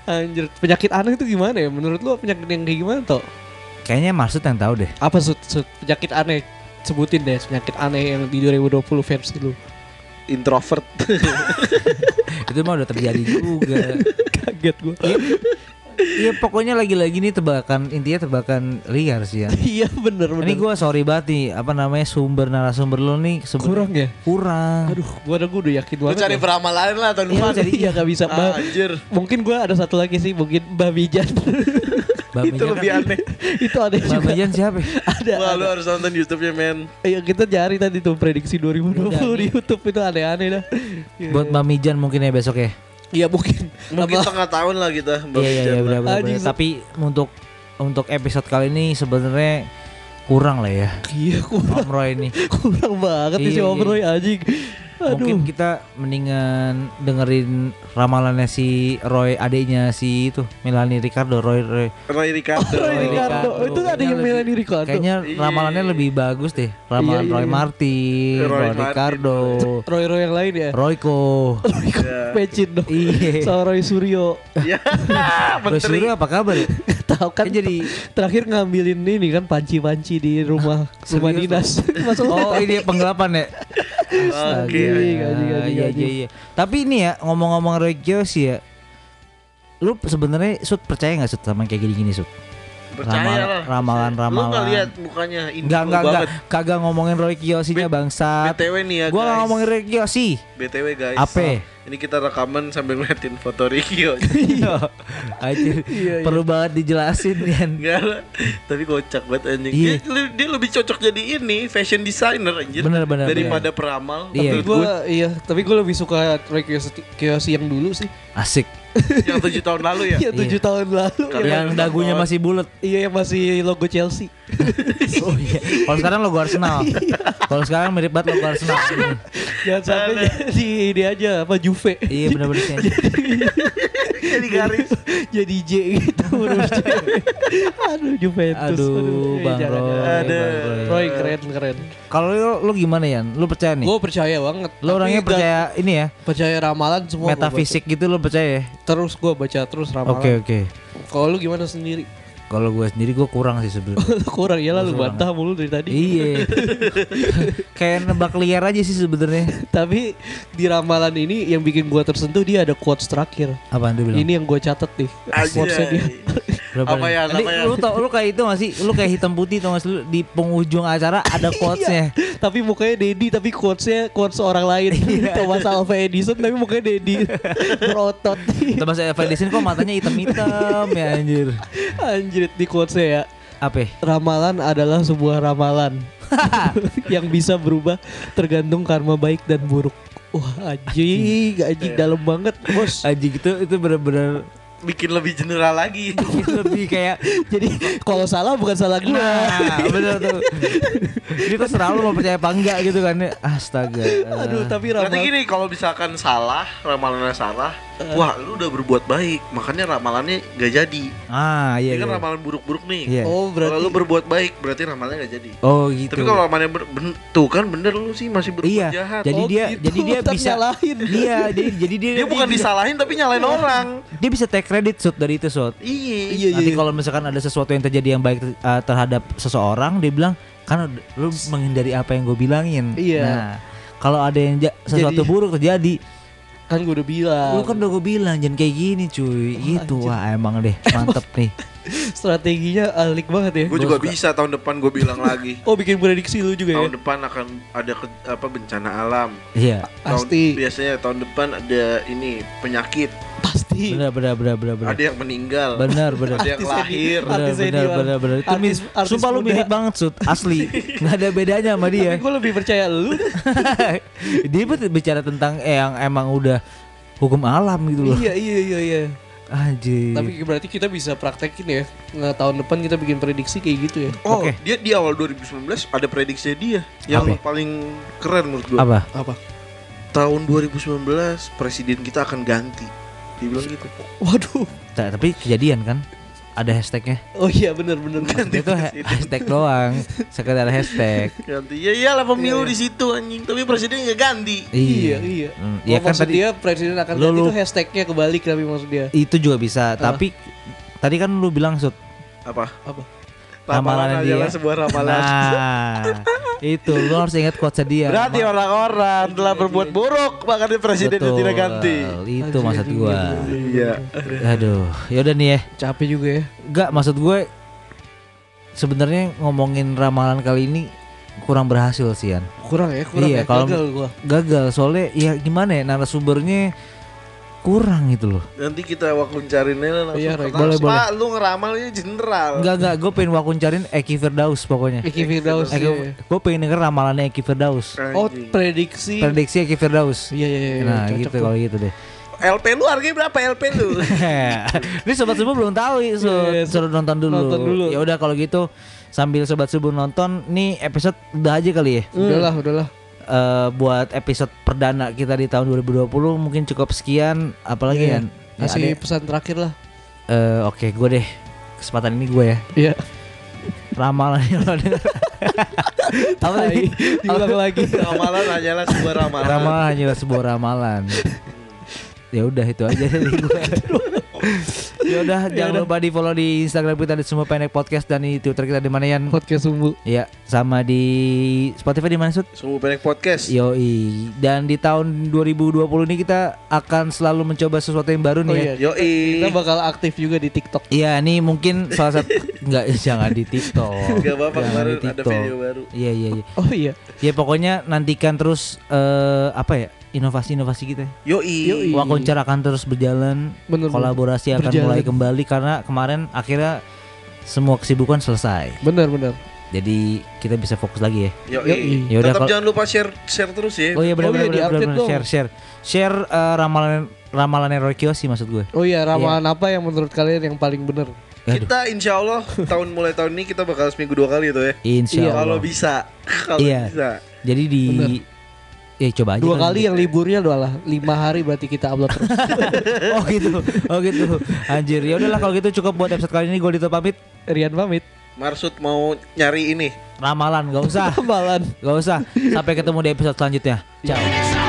[SPEAKER 1] anjir penyakit aneh itu gimana ya menurut lu penyakit yang kayak gimana toh
[SPEAKER 2] Kayaknya maksud yang tahu deh.
[SPEAKER 1] apa sud, Sud? penyakit aneh sebutin deh penyakit aneh yang di 2020 versi lu
[SPEAKER 3] Introvert.
[SPEAKER 2] Itu mah udah terjadi juga.
[SPEAKER 1] kaget gua
[SPEAKER 2] Iya pokoknya lagi-lagi nih tebakan intinya tebakan liar sih ya.
[SPEAKER 1] iya bener bener
[SPEAKER 2] Ini gua sorry banget nih apa namanya sumber narasumber lo nih sebenarnya
[SPEAKER 1] kurang ya
[SPEAKER 2] kurang.
[SPEAKER 1] aduh gua udah gua udah yakin
[SPEAKER 3] Lu
[SPEAKER 1] banget
[SPEAKER 3] cari
[SPEAKER 1] ya.
[SPEAKER 3] peramalan lah tahun
[SPEAKER 1] Iya,
[SPEAKER 3] depan.
[SPEAKER 1] jadi iya gak bisa Mbak.
[SPEAKER 3] Ah, Anjir.
[SPEAKER 1] Mungkin gue ada satu lagi sih, mungkin Babijan.
[SPEAKER 2] Bang
[SPEAKER 3] Itu
[SPEAKER 2] Mijan
[SPEAKER 3] lebih
[SPEAKER 2] kan-
[SPEAKER 3] aneh.
[SPEAKER 1] itu ada
[SPEAKER 2] Bang
[SPEAKER 1] juga.
[SPEAKER 2] Mijan siapa? ya?
[SPEAKER 1] ada.
[SPEAKER 3] Wah, lu
[SPEAKER 1] ada.
[SPEAKER 3] harus nonton YouTube-nya, men.
[SPEAKER 1] Ayo kita cari tadi tuh prediksi 2020
[SPEAKER 2] Udah,
[SPEAKER 1] di YouTube itu aneh-aneh dah. Iya.
[SPEAKER 2] Buat Bang Mijan mungkin ya besok ya.
[SPEAKER 1] Iya mungkin.
[SPEAKER 3] Mungkin
[SPEAKER 1] Apa-
[SPEAKER 3] tengah tahun lah kita.
[SPEAKER 2] Iya iya iya benar benar.
[SPEAKER 1] Anjing,
[SPEAKER 2] benar. Tapi untuk untuk episode kali ini sebenarnya kurang lah ya.
[SPEAKER 1] Iya kurang,
[SPEAKER 2] Om Roy ini.
[SPEAKER 1] kurang banget nih si
[SPEAKER 2] Iya,
[SPEAKER 1] Om
[SPEAKER 2] iya.
[SPEAKER 1] Roy anjing. Aduh.
[SPEAKER 2] Mungkin gitu. kita mendingan dengerin ramalannya si Roy adiknya si itu Milani Ricardo Roy Roy.
[SPEAKER 3] Ray Ricardo.
[SPEAKER 2] Oh,
[SPEAKER 1] Roy Ricardo.
[SPEAKER 2] Ricardo.
[SPEAKER 1] Itu ada yang
[SPEAKER 2] Kayaknya
[SPEAKER 1] Melani
[SPEAKER 2] lebih-
[SPEAKER 1] Ricardo.
[SPEAKER 2] Kayaknya
[SPEAKER 3] Iya.
[SPEAKER 2] ramalannya lebih bagus deh.
[SPEAKER 1] Iya,
[SPEAKER 2] Ramalan
[SPEAKER 1] iya,
[SPEAKER 2] Roy
[SPEAKER 1] iya.
[SPEAKER 2] Martin,
[SPEAKER 3] Roy
[SPEAKER 2] Roy,
[SPEAKER 3] Martin,
[SPEAKER 2] Ricardo,
[SPEAKER 1] Roy Roy yang lain ya.
[SPEAKER 2] Royko.
[SPEAKER 1] Pecin dong.
[SPEAKER 2] Iya.
[SPEAKER 1] Sama Roy Suryo.
[SPEAKER 3] Ya,
[SPEAKER 2] Roy
[SPEAKER 3] menteri.
[SPEAKER 2] Suryo apa kabar? ya?
[SPEAKER 1] Tahu kan
[SPEAKER 2] Kan jadi-
[SPEAKER 1] terakhir ngambilin ini kan panci-panci di rumah rumah
[SPEAKER 2] Ah, Serius
[SPEAKER 1] dinas. Masuk
[SPEAKER 2] Oh ini penggelapan ya?
[SPEAKER 3] Oke.
[SPEAKER 2] Astaga,
[SPEAKER 1] gaji, gaji,
[SPEAKER 2] iya,
[SPEAKER 1] gaji.
[SPEAKER 2] iya, iya. Tapi ini ya ngomong-ngomong Regio sih ya. Lu sebenarnya Sud percaya nggak Sud sama kayak gini-gini Sud?
[SPEAKER 3] Percaya lah.
[SPEAKER 2] Ramalan, ramalan.
[SPEAKER 3] Lu nggak lihat mukanya ini
[SPEAKER 2] Enggak, enggak, enggak.
[SPEAKER 3] banget.
[SPEAKER 2] Kagak ngomongin Roy Kiyoshinya
[SPEAKER 3] B-
[SPEAKER 2] bangsat.
[SPEAKER 3] BTW nih ya,
[SPEAKER 2] Gua nggak
[SPEAKER 3] guys.
[SPEAKER 2] ngomongin Roy Kiyoshi.
[SPEAKER 3] BTW guys.
[SPEAKER 2] Apa?
[SPEAKER 3] Ini kita rekaman sambil ngeliatin foto Rikio. Iya.
[SPEAKER 2] Anjir, perlu banget dijelasin Yan.
[SPEAKER 3] Enggak lah. Tapi kocak banget anjing.
[SPEAKER 2] Iya.
[SPEAKER 3] Dia, dia lebih cocok jadi ini fashion designer anjir.
[SPEAKER 2] Bener, bener,
[SPEAKER 3] Daripada peramal.
[SPEAKER 2] Iya.
[SPEAKER 1] Tapi gue iya, tapi gue lebih suka Roy Kiyoshi, Kiyoshi yang dulu sih.
[SPEAKER 2] Asik.
[SPEAKER 3] Yang tujuh tahun lalu ya.
[SPEAKER 1] Iya, tujuh tahun lalu.
[SPEAKER 3] Iya,
[SPEAKER 2] Yang
[SPEAKER 3] bener
[SPEAKER 2] dagunya
[SPEAKER 3] banget.
[SPEAKER 2] masih bulat.
[SPEAKER 1] Iya, yang masih logo Chelsea.
[SPEAKER 2] Oh iya. Kalau sekarang logo Arsenal. Kalau sekarang mirip banget logo Arsenal.
[SPEAKER 1] Jangan sampai jadi ini aja apa Juve.
[SPEAKER 2] Iya benar-benar sih.
[SPEAKER 3] Jadi garis.
[SPEAKER 1] jadi J gitu huruf J. aduh Juventus
[SPEAKER 2] Aduh,
[SPEAKER 1] eh,
[SPEAKER 2] Bang
[SPEAKER 1] jangan,
[SPEAKER 2] Roy.
[SPEAKER 1] jangan.
[SPEAKER 3] Aduh.
[SPEAKER 2] Bang
[SPEAKER 1] Roy keren keren
[SPEAKER 2] Kalau lu, lu gimana ya? Lu percaya nih?
[SPEAKER 1] gue percaya banget
[SPEAKER 2] Lu
[SPEAKER 1] Tapi
[SPEAKER 2] orangnya
[SPEAKER 1] ga-
[SPEAKER 2] percaya ini ya?
[SPEAKER 1] percaya ramalan semua gua baca.
[SPEAKER 2] Metafisik gitu lu percaya ya?
[SPEAKER 1] terus gue baca terus ramalan
[SPEAKER 2] Oke oke.
[SPEAKER 1] kalau lu gimana sendiri
[SPEAKER 2] Kalau gue sendiri gue kurang sih sebenarnya.
[SPEAKER 1] lu kurang ya lu bantah mulu dari tadi
[SPEAKER 2] iya. Kayak nebak liar aja sih sebenarnya.
[SPEAKER 1] tapi di ramalan ini yang bikin gue tersentuh dia ada quotes terakhir
[SPEAKER 2] Apaan dia bilang?
[SPEAKER 1] ini yang gue catet nih quotesnya dia
[SPEAKER 3] Anjay.
[SPEAKER 2] Berapa
[SPEAKER 3] Apa
[SPEAKER 2] nih?
[SPEAKER 3] ya?
[SPEAKER 2] Ini
[SPEAKER 3] Apa ya?
[SPEAKER 2] lu tau lu kayak itu gak sih? Lu kayak hitam putih tau gak sih? Lu di penghujung acara ada
[SPEAKER 3] Iya.
[SPEAKER 2] quotesnya.
[SPEAKER 1] tapi mukanya Dedi tapi quotesnya quotes orang lain
[SPEAKER 2] Iya.
[SPEAKER 1] Thomas Alva Edison tapi mukanya Dedi berotot
[SPEAKER 2] Thomas Alva Edison kok matanya hitam-hitam ya anjir.
[SPEAKER 1] anjir di quotesnya ya
[SPEAKER 2] Apa? ya?
[SPEAKER 1] ramalan adalah sebuah ramalan yang bisa berubah tergantung karma baik dan buruk wah anjing Iya. anjing dalam banget bos
[SPEAKER 2] Anjing itu itu bener-bener
[SPEAKER 3] Bikin lebih general lagi.
[SPEAKER 2] lebih kayak
[SPEAKER 1] jadi kalau salah bukan salah gue
[SPEAKER 2] nah bener tuh. Jadi terserah lu mau percaya apa enggak gitu kan. Astaga.
[SPEAKER 1] aduh tapi
[SPEAKER 3] Berarti
[SPEAKER 1] ramalan
[SPEAKER 3] gini kalau misalkan salah, ramalannya salah,
[SPEAKER 2] Eh.
[SPEAKER 3] wah lu udah berbuat baik, makanya ramalannya gak jadi.
[SPEAKER 2] Ah
[SPEAKER 3] Ini
[SPEAKER 2] iya.
[SPEAKER 3] kan
[SPEAKER 2] iya.
[SPEAKER 3] ramalan buruk-buruk nih.
[SPEAKER 2] Iya.
[SPEAKER 1] oh
[SPEAKER 3] Kalau
[SPEAKER 1] berarti
[SPEAKER 3] lu berbuat baik, berarti ramalannya gak jadi.
[SPEAKER 2] Oh gitu.
[SPEAKER 3] Tapi kalau ramalannya ber- ben- tuh kan bener lu sih masih berbuat
[SPEAKER 2] Iya.
[SPEAKER 3] jahat.
[SPEAKER 2] Jadi
[SPEAKER 1] Oh,
[SPEAKER 2] dia
[SPEAKER 1] gitu,
[SPEAKER 2] jadi dia
[SPEAKER 1] tetap
[SPEAKER 2] bisa
[SPEAKER 1] nyalahin.
[SPEAKER 2] Iya, jadi jadi dia Iya.
[SPEAKER 3] dia bukan
[SPEAKER 2] bisa,
[SPEAKER 3] disalahin tapi nyalain orang.
[SPEAKER 2] dia bisa take credit shot dari itu shot.
[SPEAKER 3] Iya.
[SPEAKER 1] iya iya
[SPEAKER 2] Nanti kalau misalkan ada sesuatu yang terjadi yang baik eh, terhadap seseorang, dia bilang kan ud- lu menghindari apa yang gue bilangin.
[SPEAKER 1] Iya.
[SPEAKER 2] Nah, kalau ada yang ja- sesuatu
[SPEAKER 1] Jadi-
[SPEAKER 2] buruk terjadi,
[SPEAKER 1] kan gue udah bilang
[SPEAKER 2] lu kan udah gue bilang jangan kayak gini
[SPEAKER 1] Oh,
[SPEAKER 2] cuy. gitu wah emang deh mantep nih.
[SPEAKER 1] strateginya alik banget ya
[SPEAKER 3] Gue juga bisa tahun depan gue bilang lagi.
[SPEAKER 1] oh bikin prediksi lu juga ya
[SPEAKER 3] Tahun depan akan ada ke- apa bencana alam.
[SPEAKER 2] Iya.
[SPEAKER 3] Tahun-
[SPEAKER 1] pasti
[SPEAKER 3] biasanya tahun depan ada ini penyakit,
[SPEAKER 1] pasti
[SPEAKER 2] Bener bener bener bener bener.
[SPEAKER 3] ada yang meninggal,
[SPEAKER 2] Bener bener.
[SPEAKER 3] ada yang lahir.
[SPEAKER 1] Iya. Artis
[SPEAKER 2] Bener bener
[SPEAKER 1] senior.
[SPEAKER 2] bener bener. Itu
[SPEAKER 1] Artis-
[SPEAKER 2] mis-
[SPEAKER 1] artis
[SPEAKER 2] Sumpah lu
[SPEAKER 1] muda.
[SPEAKER 2] mirip banget ya. Sud Asli Gak ada bedanya sama
[SPEAKER 1] tapi
[SPEAKER 2] dia
[SPEAKER 1] gue lebih percaya lu
[SPEAKER 2] Dia bet- bicara tentang eh, yang emang udah Hukum alam gitu loh
[SPEAKER 1] iya iya iya iya
[SPEAKER 2] Anjir
[SPEAKER 1] tapi berarti kita bisa praktekin ya nah, tahun depan kita bikin prediksi kayak gitu ya
[SPEAKER 3] Oh,
[SPEAKER 2] Oke.
[SPEAKER 3] dia di awal 2019 ada prediksi dia yang
[SPEAKER 2] Apa?
[SPEAKER 3] paling keren menurut gue.
[SPEAKER 2] Apa?
[SPEAKER 1] apa
[SPEAKER 3] Tahun 2019 presiden kita akan ganti. Dia bilang gitu.
[SPEAKER 1] waduh
[SPEAKER 2] Ta- Nah, tapi kejadian kan ada hashtagnya
[SPEAKER 1] oh iya bener bener
[SPEAKER 2] Maksudnya itu ha- hashtag doang sekedar hashtag
[SPEAKER 3] Ganti. Ya iyalah pemilu di situ anjing, tapi presiden nggak ganti.
[SPEAKER 1] iya iya
[SPEAKER 2] Hmm,
[SPEAKER 1] ya
[SPEAKER 2] ya kan
[SPEAKER 1] maksud
[SPEAKER 2] tadi
[SPEAKER 1] dia presiden akan
[SPEAKER 2] Lu-
[SPEAKER 1] ganti
[SPEAKER 2] lu-
[SPEAKER 1] itu hashtagnya kebalik tapi maksud dia
[SPEAKER 2] itu juga bisa tapi tadi kan lu bilang sud
[SPEAKER 3] Apa?
[SPEAKER 1] apa
[SPEAKER 2] Ramalan
[SPEAKER 3] Ramalan adalah
[SPEAKER 2] dia.
[SPEAKER 3] sebuah ramalan.
[SPEAKER 2] nah iya, itu lu harus ingat quotes dia
[SPEAKER 3] Berarti
[SPEAKER 2] Ma-
[SPEAKER 3] orang-orang telah berbuat buruk, makanya presiden
[SPEAKER 2] Iya, Betul,
[SPEAKER 3] tidak ganti.
[SPEAKER 2] itu maksud gua
[SPEAKER 3] Iya.
[SPEAKER 2] aduh yaudah nih ya
[SPEAKER 1] capek juga ya
[SPEAKER 2] Enggak maksud gue sebenarnya ngomongin ramalan kali ini kurang berhasil sih Yan.
[SPEAKER 1] kurang ya kurang
[SPEAKER 2] Iya,
[SPEAKER 1] ya
[SPEAKER 2] kalau-
[SPEAKER 1] gagal gua
[SPEAKER 2] gagal soalnya ya gimana ya narasumbernya kurang gitu loh
[SPEAKER 3] Nanti kita wakuncarinnya langsung.
[SPEAKER 1] Iya, Roy.
[SPEAKER 3] ke tas.
[SPEAKER 2] Boleh, boleh.
[SPEAKER 3] Pak, lu ngeramalnya general.
[SPEAKER 2] Enggak enggak, gue pengen wakuncarin Eki Firdaus pokoknya.
[SPEAKER 1] Eki Firdaus
[SPEAKER 2] Eki,
[SPEAKER 1] iya, iya.
[SPEAKER 2] gue pengen denger ramalannya Eki Firdaus.
[SPEAKER 1] oh
[SPEAKER 3] Anjing.
[SPEAKER 1] prediksi
[SPEAKER 2] Prediksi Eki Firdaus.
[SPEAKER 1] iya iya iya iya,
[SPEAKER 2] Nah
[SPEAKER 1] cocok
[SPEAKER 2] gitu
[SPEAKER 1] tuh.
[SPEAKER 2] kalau gitu deh.
[SPEAKER 3] LP lu harganya berapa LP lu?
[SPEAKER 2] Ini sobat subuh belum tahu, ya, so,
[SPEAKER 1] Iya, iya,
[SPEAKER 2] suruh nonton dulu.
[SPEAKER 1] nonton dulu.
[SPEAKER 2] Ya udah kalau gitu sambil sobat subuh nonton, nih episode udah aja kali ya.
[SPEAKER 1] udahlah udahlah
[SPEAKER 2] Eh, buat episode perdana kita di tahun 2020 mungkin cukup sekian. Apalagi
[SPEAKER 1] Iya.
[SPEAKER 2] Yan? ya.
[SPEAKER 1] kasih
[SPEAKER 2] ada-
[SPEAKER 1] pesan terakhir lah
[SPEAKER 2] eh, Oke, gue deh kesempatan ini gue ya.
[SPEAKER 1] iya
[SPEAKER 2] Ramalan yang lo denger. Apa tadi?
[SPEAKER 1] diulang lagi
[SPEAKER 3] ramalan hanyalah sebuah ramalan.
[SPEAKER 2] Ramalan hanyalah sebuah ramalan. ya udah itu aja dari gue. ya udah jangan lupa di follow di Instagram kita di semua pendek podcast dan di Twitter kita di mana Yan?
[SPEAKER 1] podcast sumbu
[SPEAKER 2] Ya, sama di Spotify di mana Sud?
[SPEAKER 3] Semua banyak podcast.
[SPEAKER 2] Iya. Yoi. Dan di tahun 2020 ini kita akan selalu mencoba sesuatu yang baru nih.
[SPEAKER 1] Oh
[SPEAKER 2] ya.
[SPEAKER 1] iya,
[SPEAKER 3] Yoi.
[SPEAKER 1] kita bakal aktif juga di TikTok.
[SPEAKER 2] Iya, ini mungkin salah satu nggak jangan di TikTok.
[SPEAKER 3] Gak apa-apa
[SPEAKER 2] Jangan
[SPEAKER 3] kemarin
[SPEAKER 2] di
[SPEAKER 3] ada
[SPEAKER 2] TikTok.
[SPEAKER 3] video baru.
[SPEAKER 2] Iya, iya, iya.
[SPEAKER 1] Oh iya,
[SPEAKER 2] Ya pokoknya nantikan terus eh, apa ya? Inovasi-inovasi kita. ya.
[SPEAKER 3] Yoi.
[SPEAKER 1] Yoi. Iya.
[SPEAKER 2] Wawancara akan terus berjalan,
[SPEAKER 1] Bener,
[SPEAKER 2] kolaborasi akan
[SPEAKER 1] Berjalan.
[SPEAKER 2] mulai kembali karena kemarin akhirnya semua kesibukan selesai.
[SPEAKER 1] benar benar.
[SPEAKER 2] Jadi kita bisa fokus lagi ya.
[SPEAKER 3] Yoi.
[SPEAKER 1] Yoi.
[SPEAKER 2] Yaudah,
[SPEAKER 3] Tetap
[SPEAKER 2] kalau-
[SPEAKER 3] jangan lupa share share terus ya.
[SPEAKER 2] Oh iya benar
[SPEAKER 1] Oh iya,
[SPEAKER 2] benar benar,
[SPEAKER 1] di-update
[SPEAKER 2] benar,
[SPEAKER 1] dong.
[SPEAKER 2] share share share eh, ramalan ramalan Roy Kiyoshi maksud gue.
[SPEAKER 1] Oh iya, ramalan apa yang menurut kalian yang paling benar?
[SPEAKER 2] Aduh,
[SPEAKER 3] Kita insya Allah tahun mulai tahun ini kita bakal seminggu dua kali itu ya.
[SPEAKER 2] insya
[SPEAKER 1] Iya,
[SPEAKER 2] Allah.
[SPEAKER 3] Kalau bisa, kalau
[SPEAKER 2] Iya.
[SPEAKER 3] bisa.
[SPEAKER 2] Jadi di ya coba aja
[SPEAKER 1] Dua
[SPEAKER 2] kan.
[SPEAKER 1] kali yang liburnya adalah lima hari berarti kita upload terus.
[SPEAKER 2] oh gitu oh gitu anjir ya udahlah kalau gitu cukup buat episode kali ini gue Dito pamit
[SPEAKER 1] Rian pamit.
[SPEAKER 3] Marsud mau nyari ini
[SPEAKER 2] ramalan gak usah
[SPEAKER 1] Tambalan.
[SPEAKER 2] gak usah sampai ketemu di episode selanjutnya ciao
[SPEAKER 4] Desa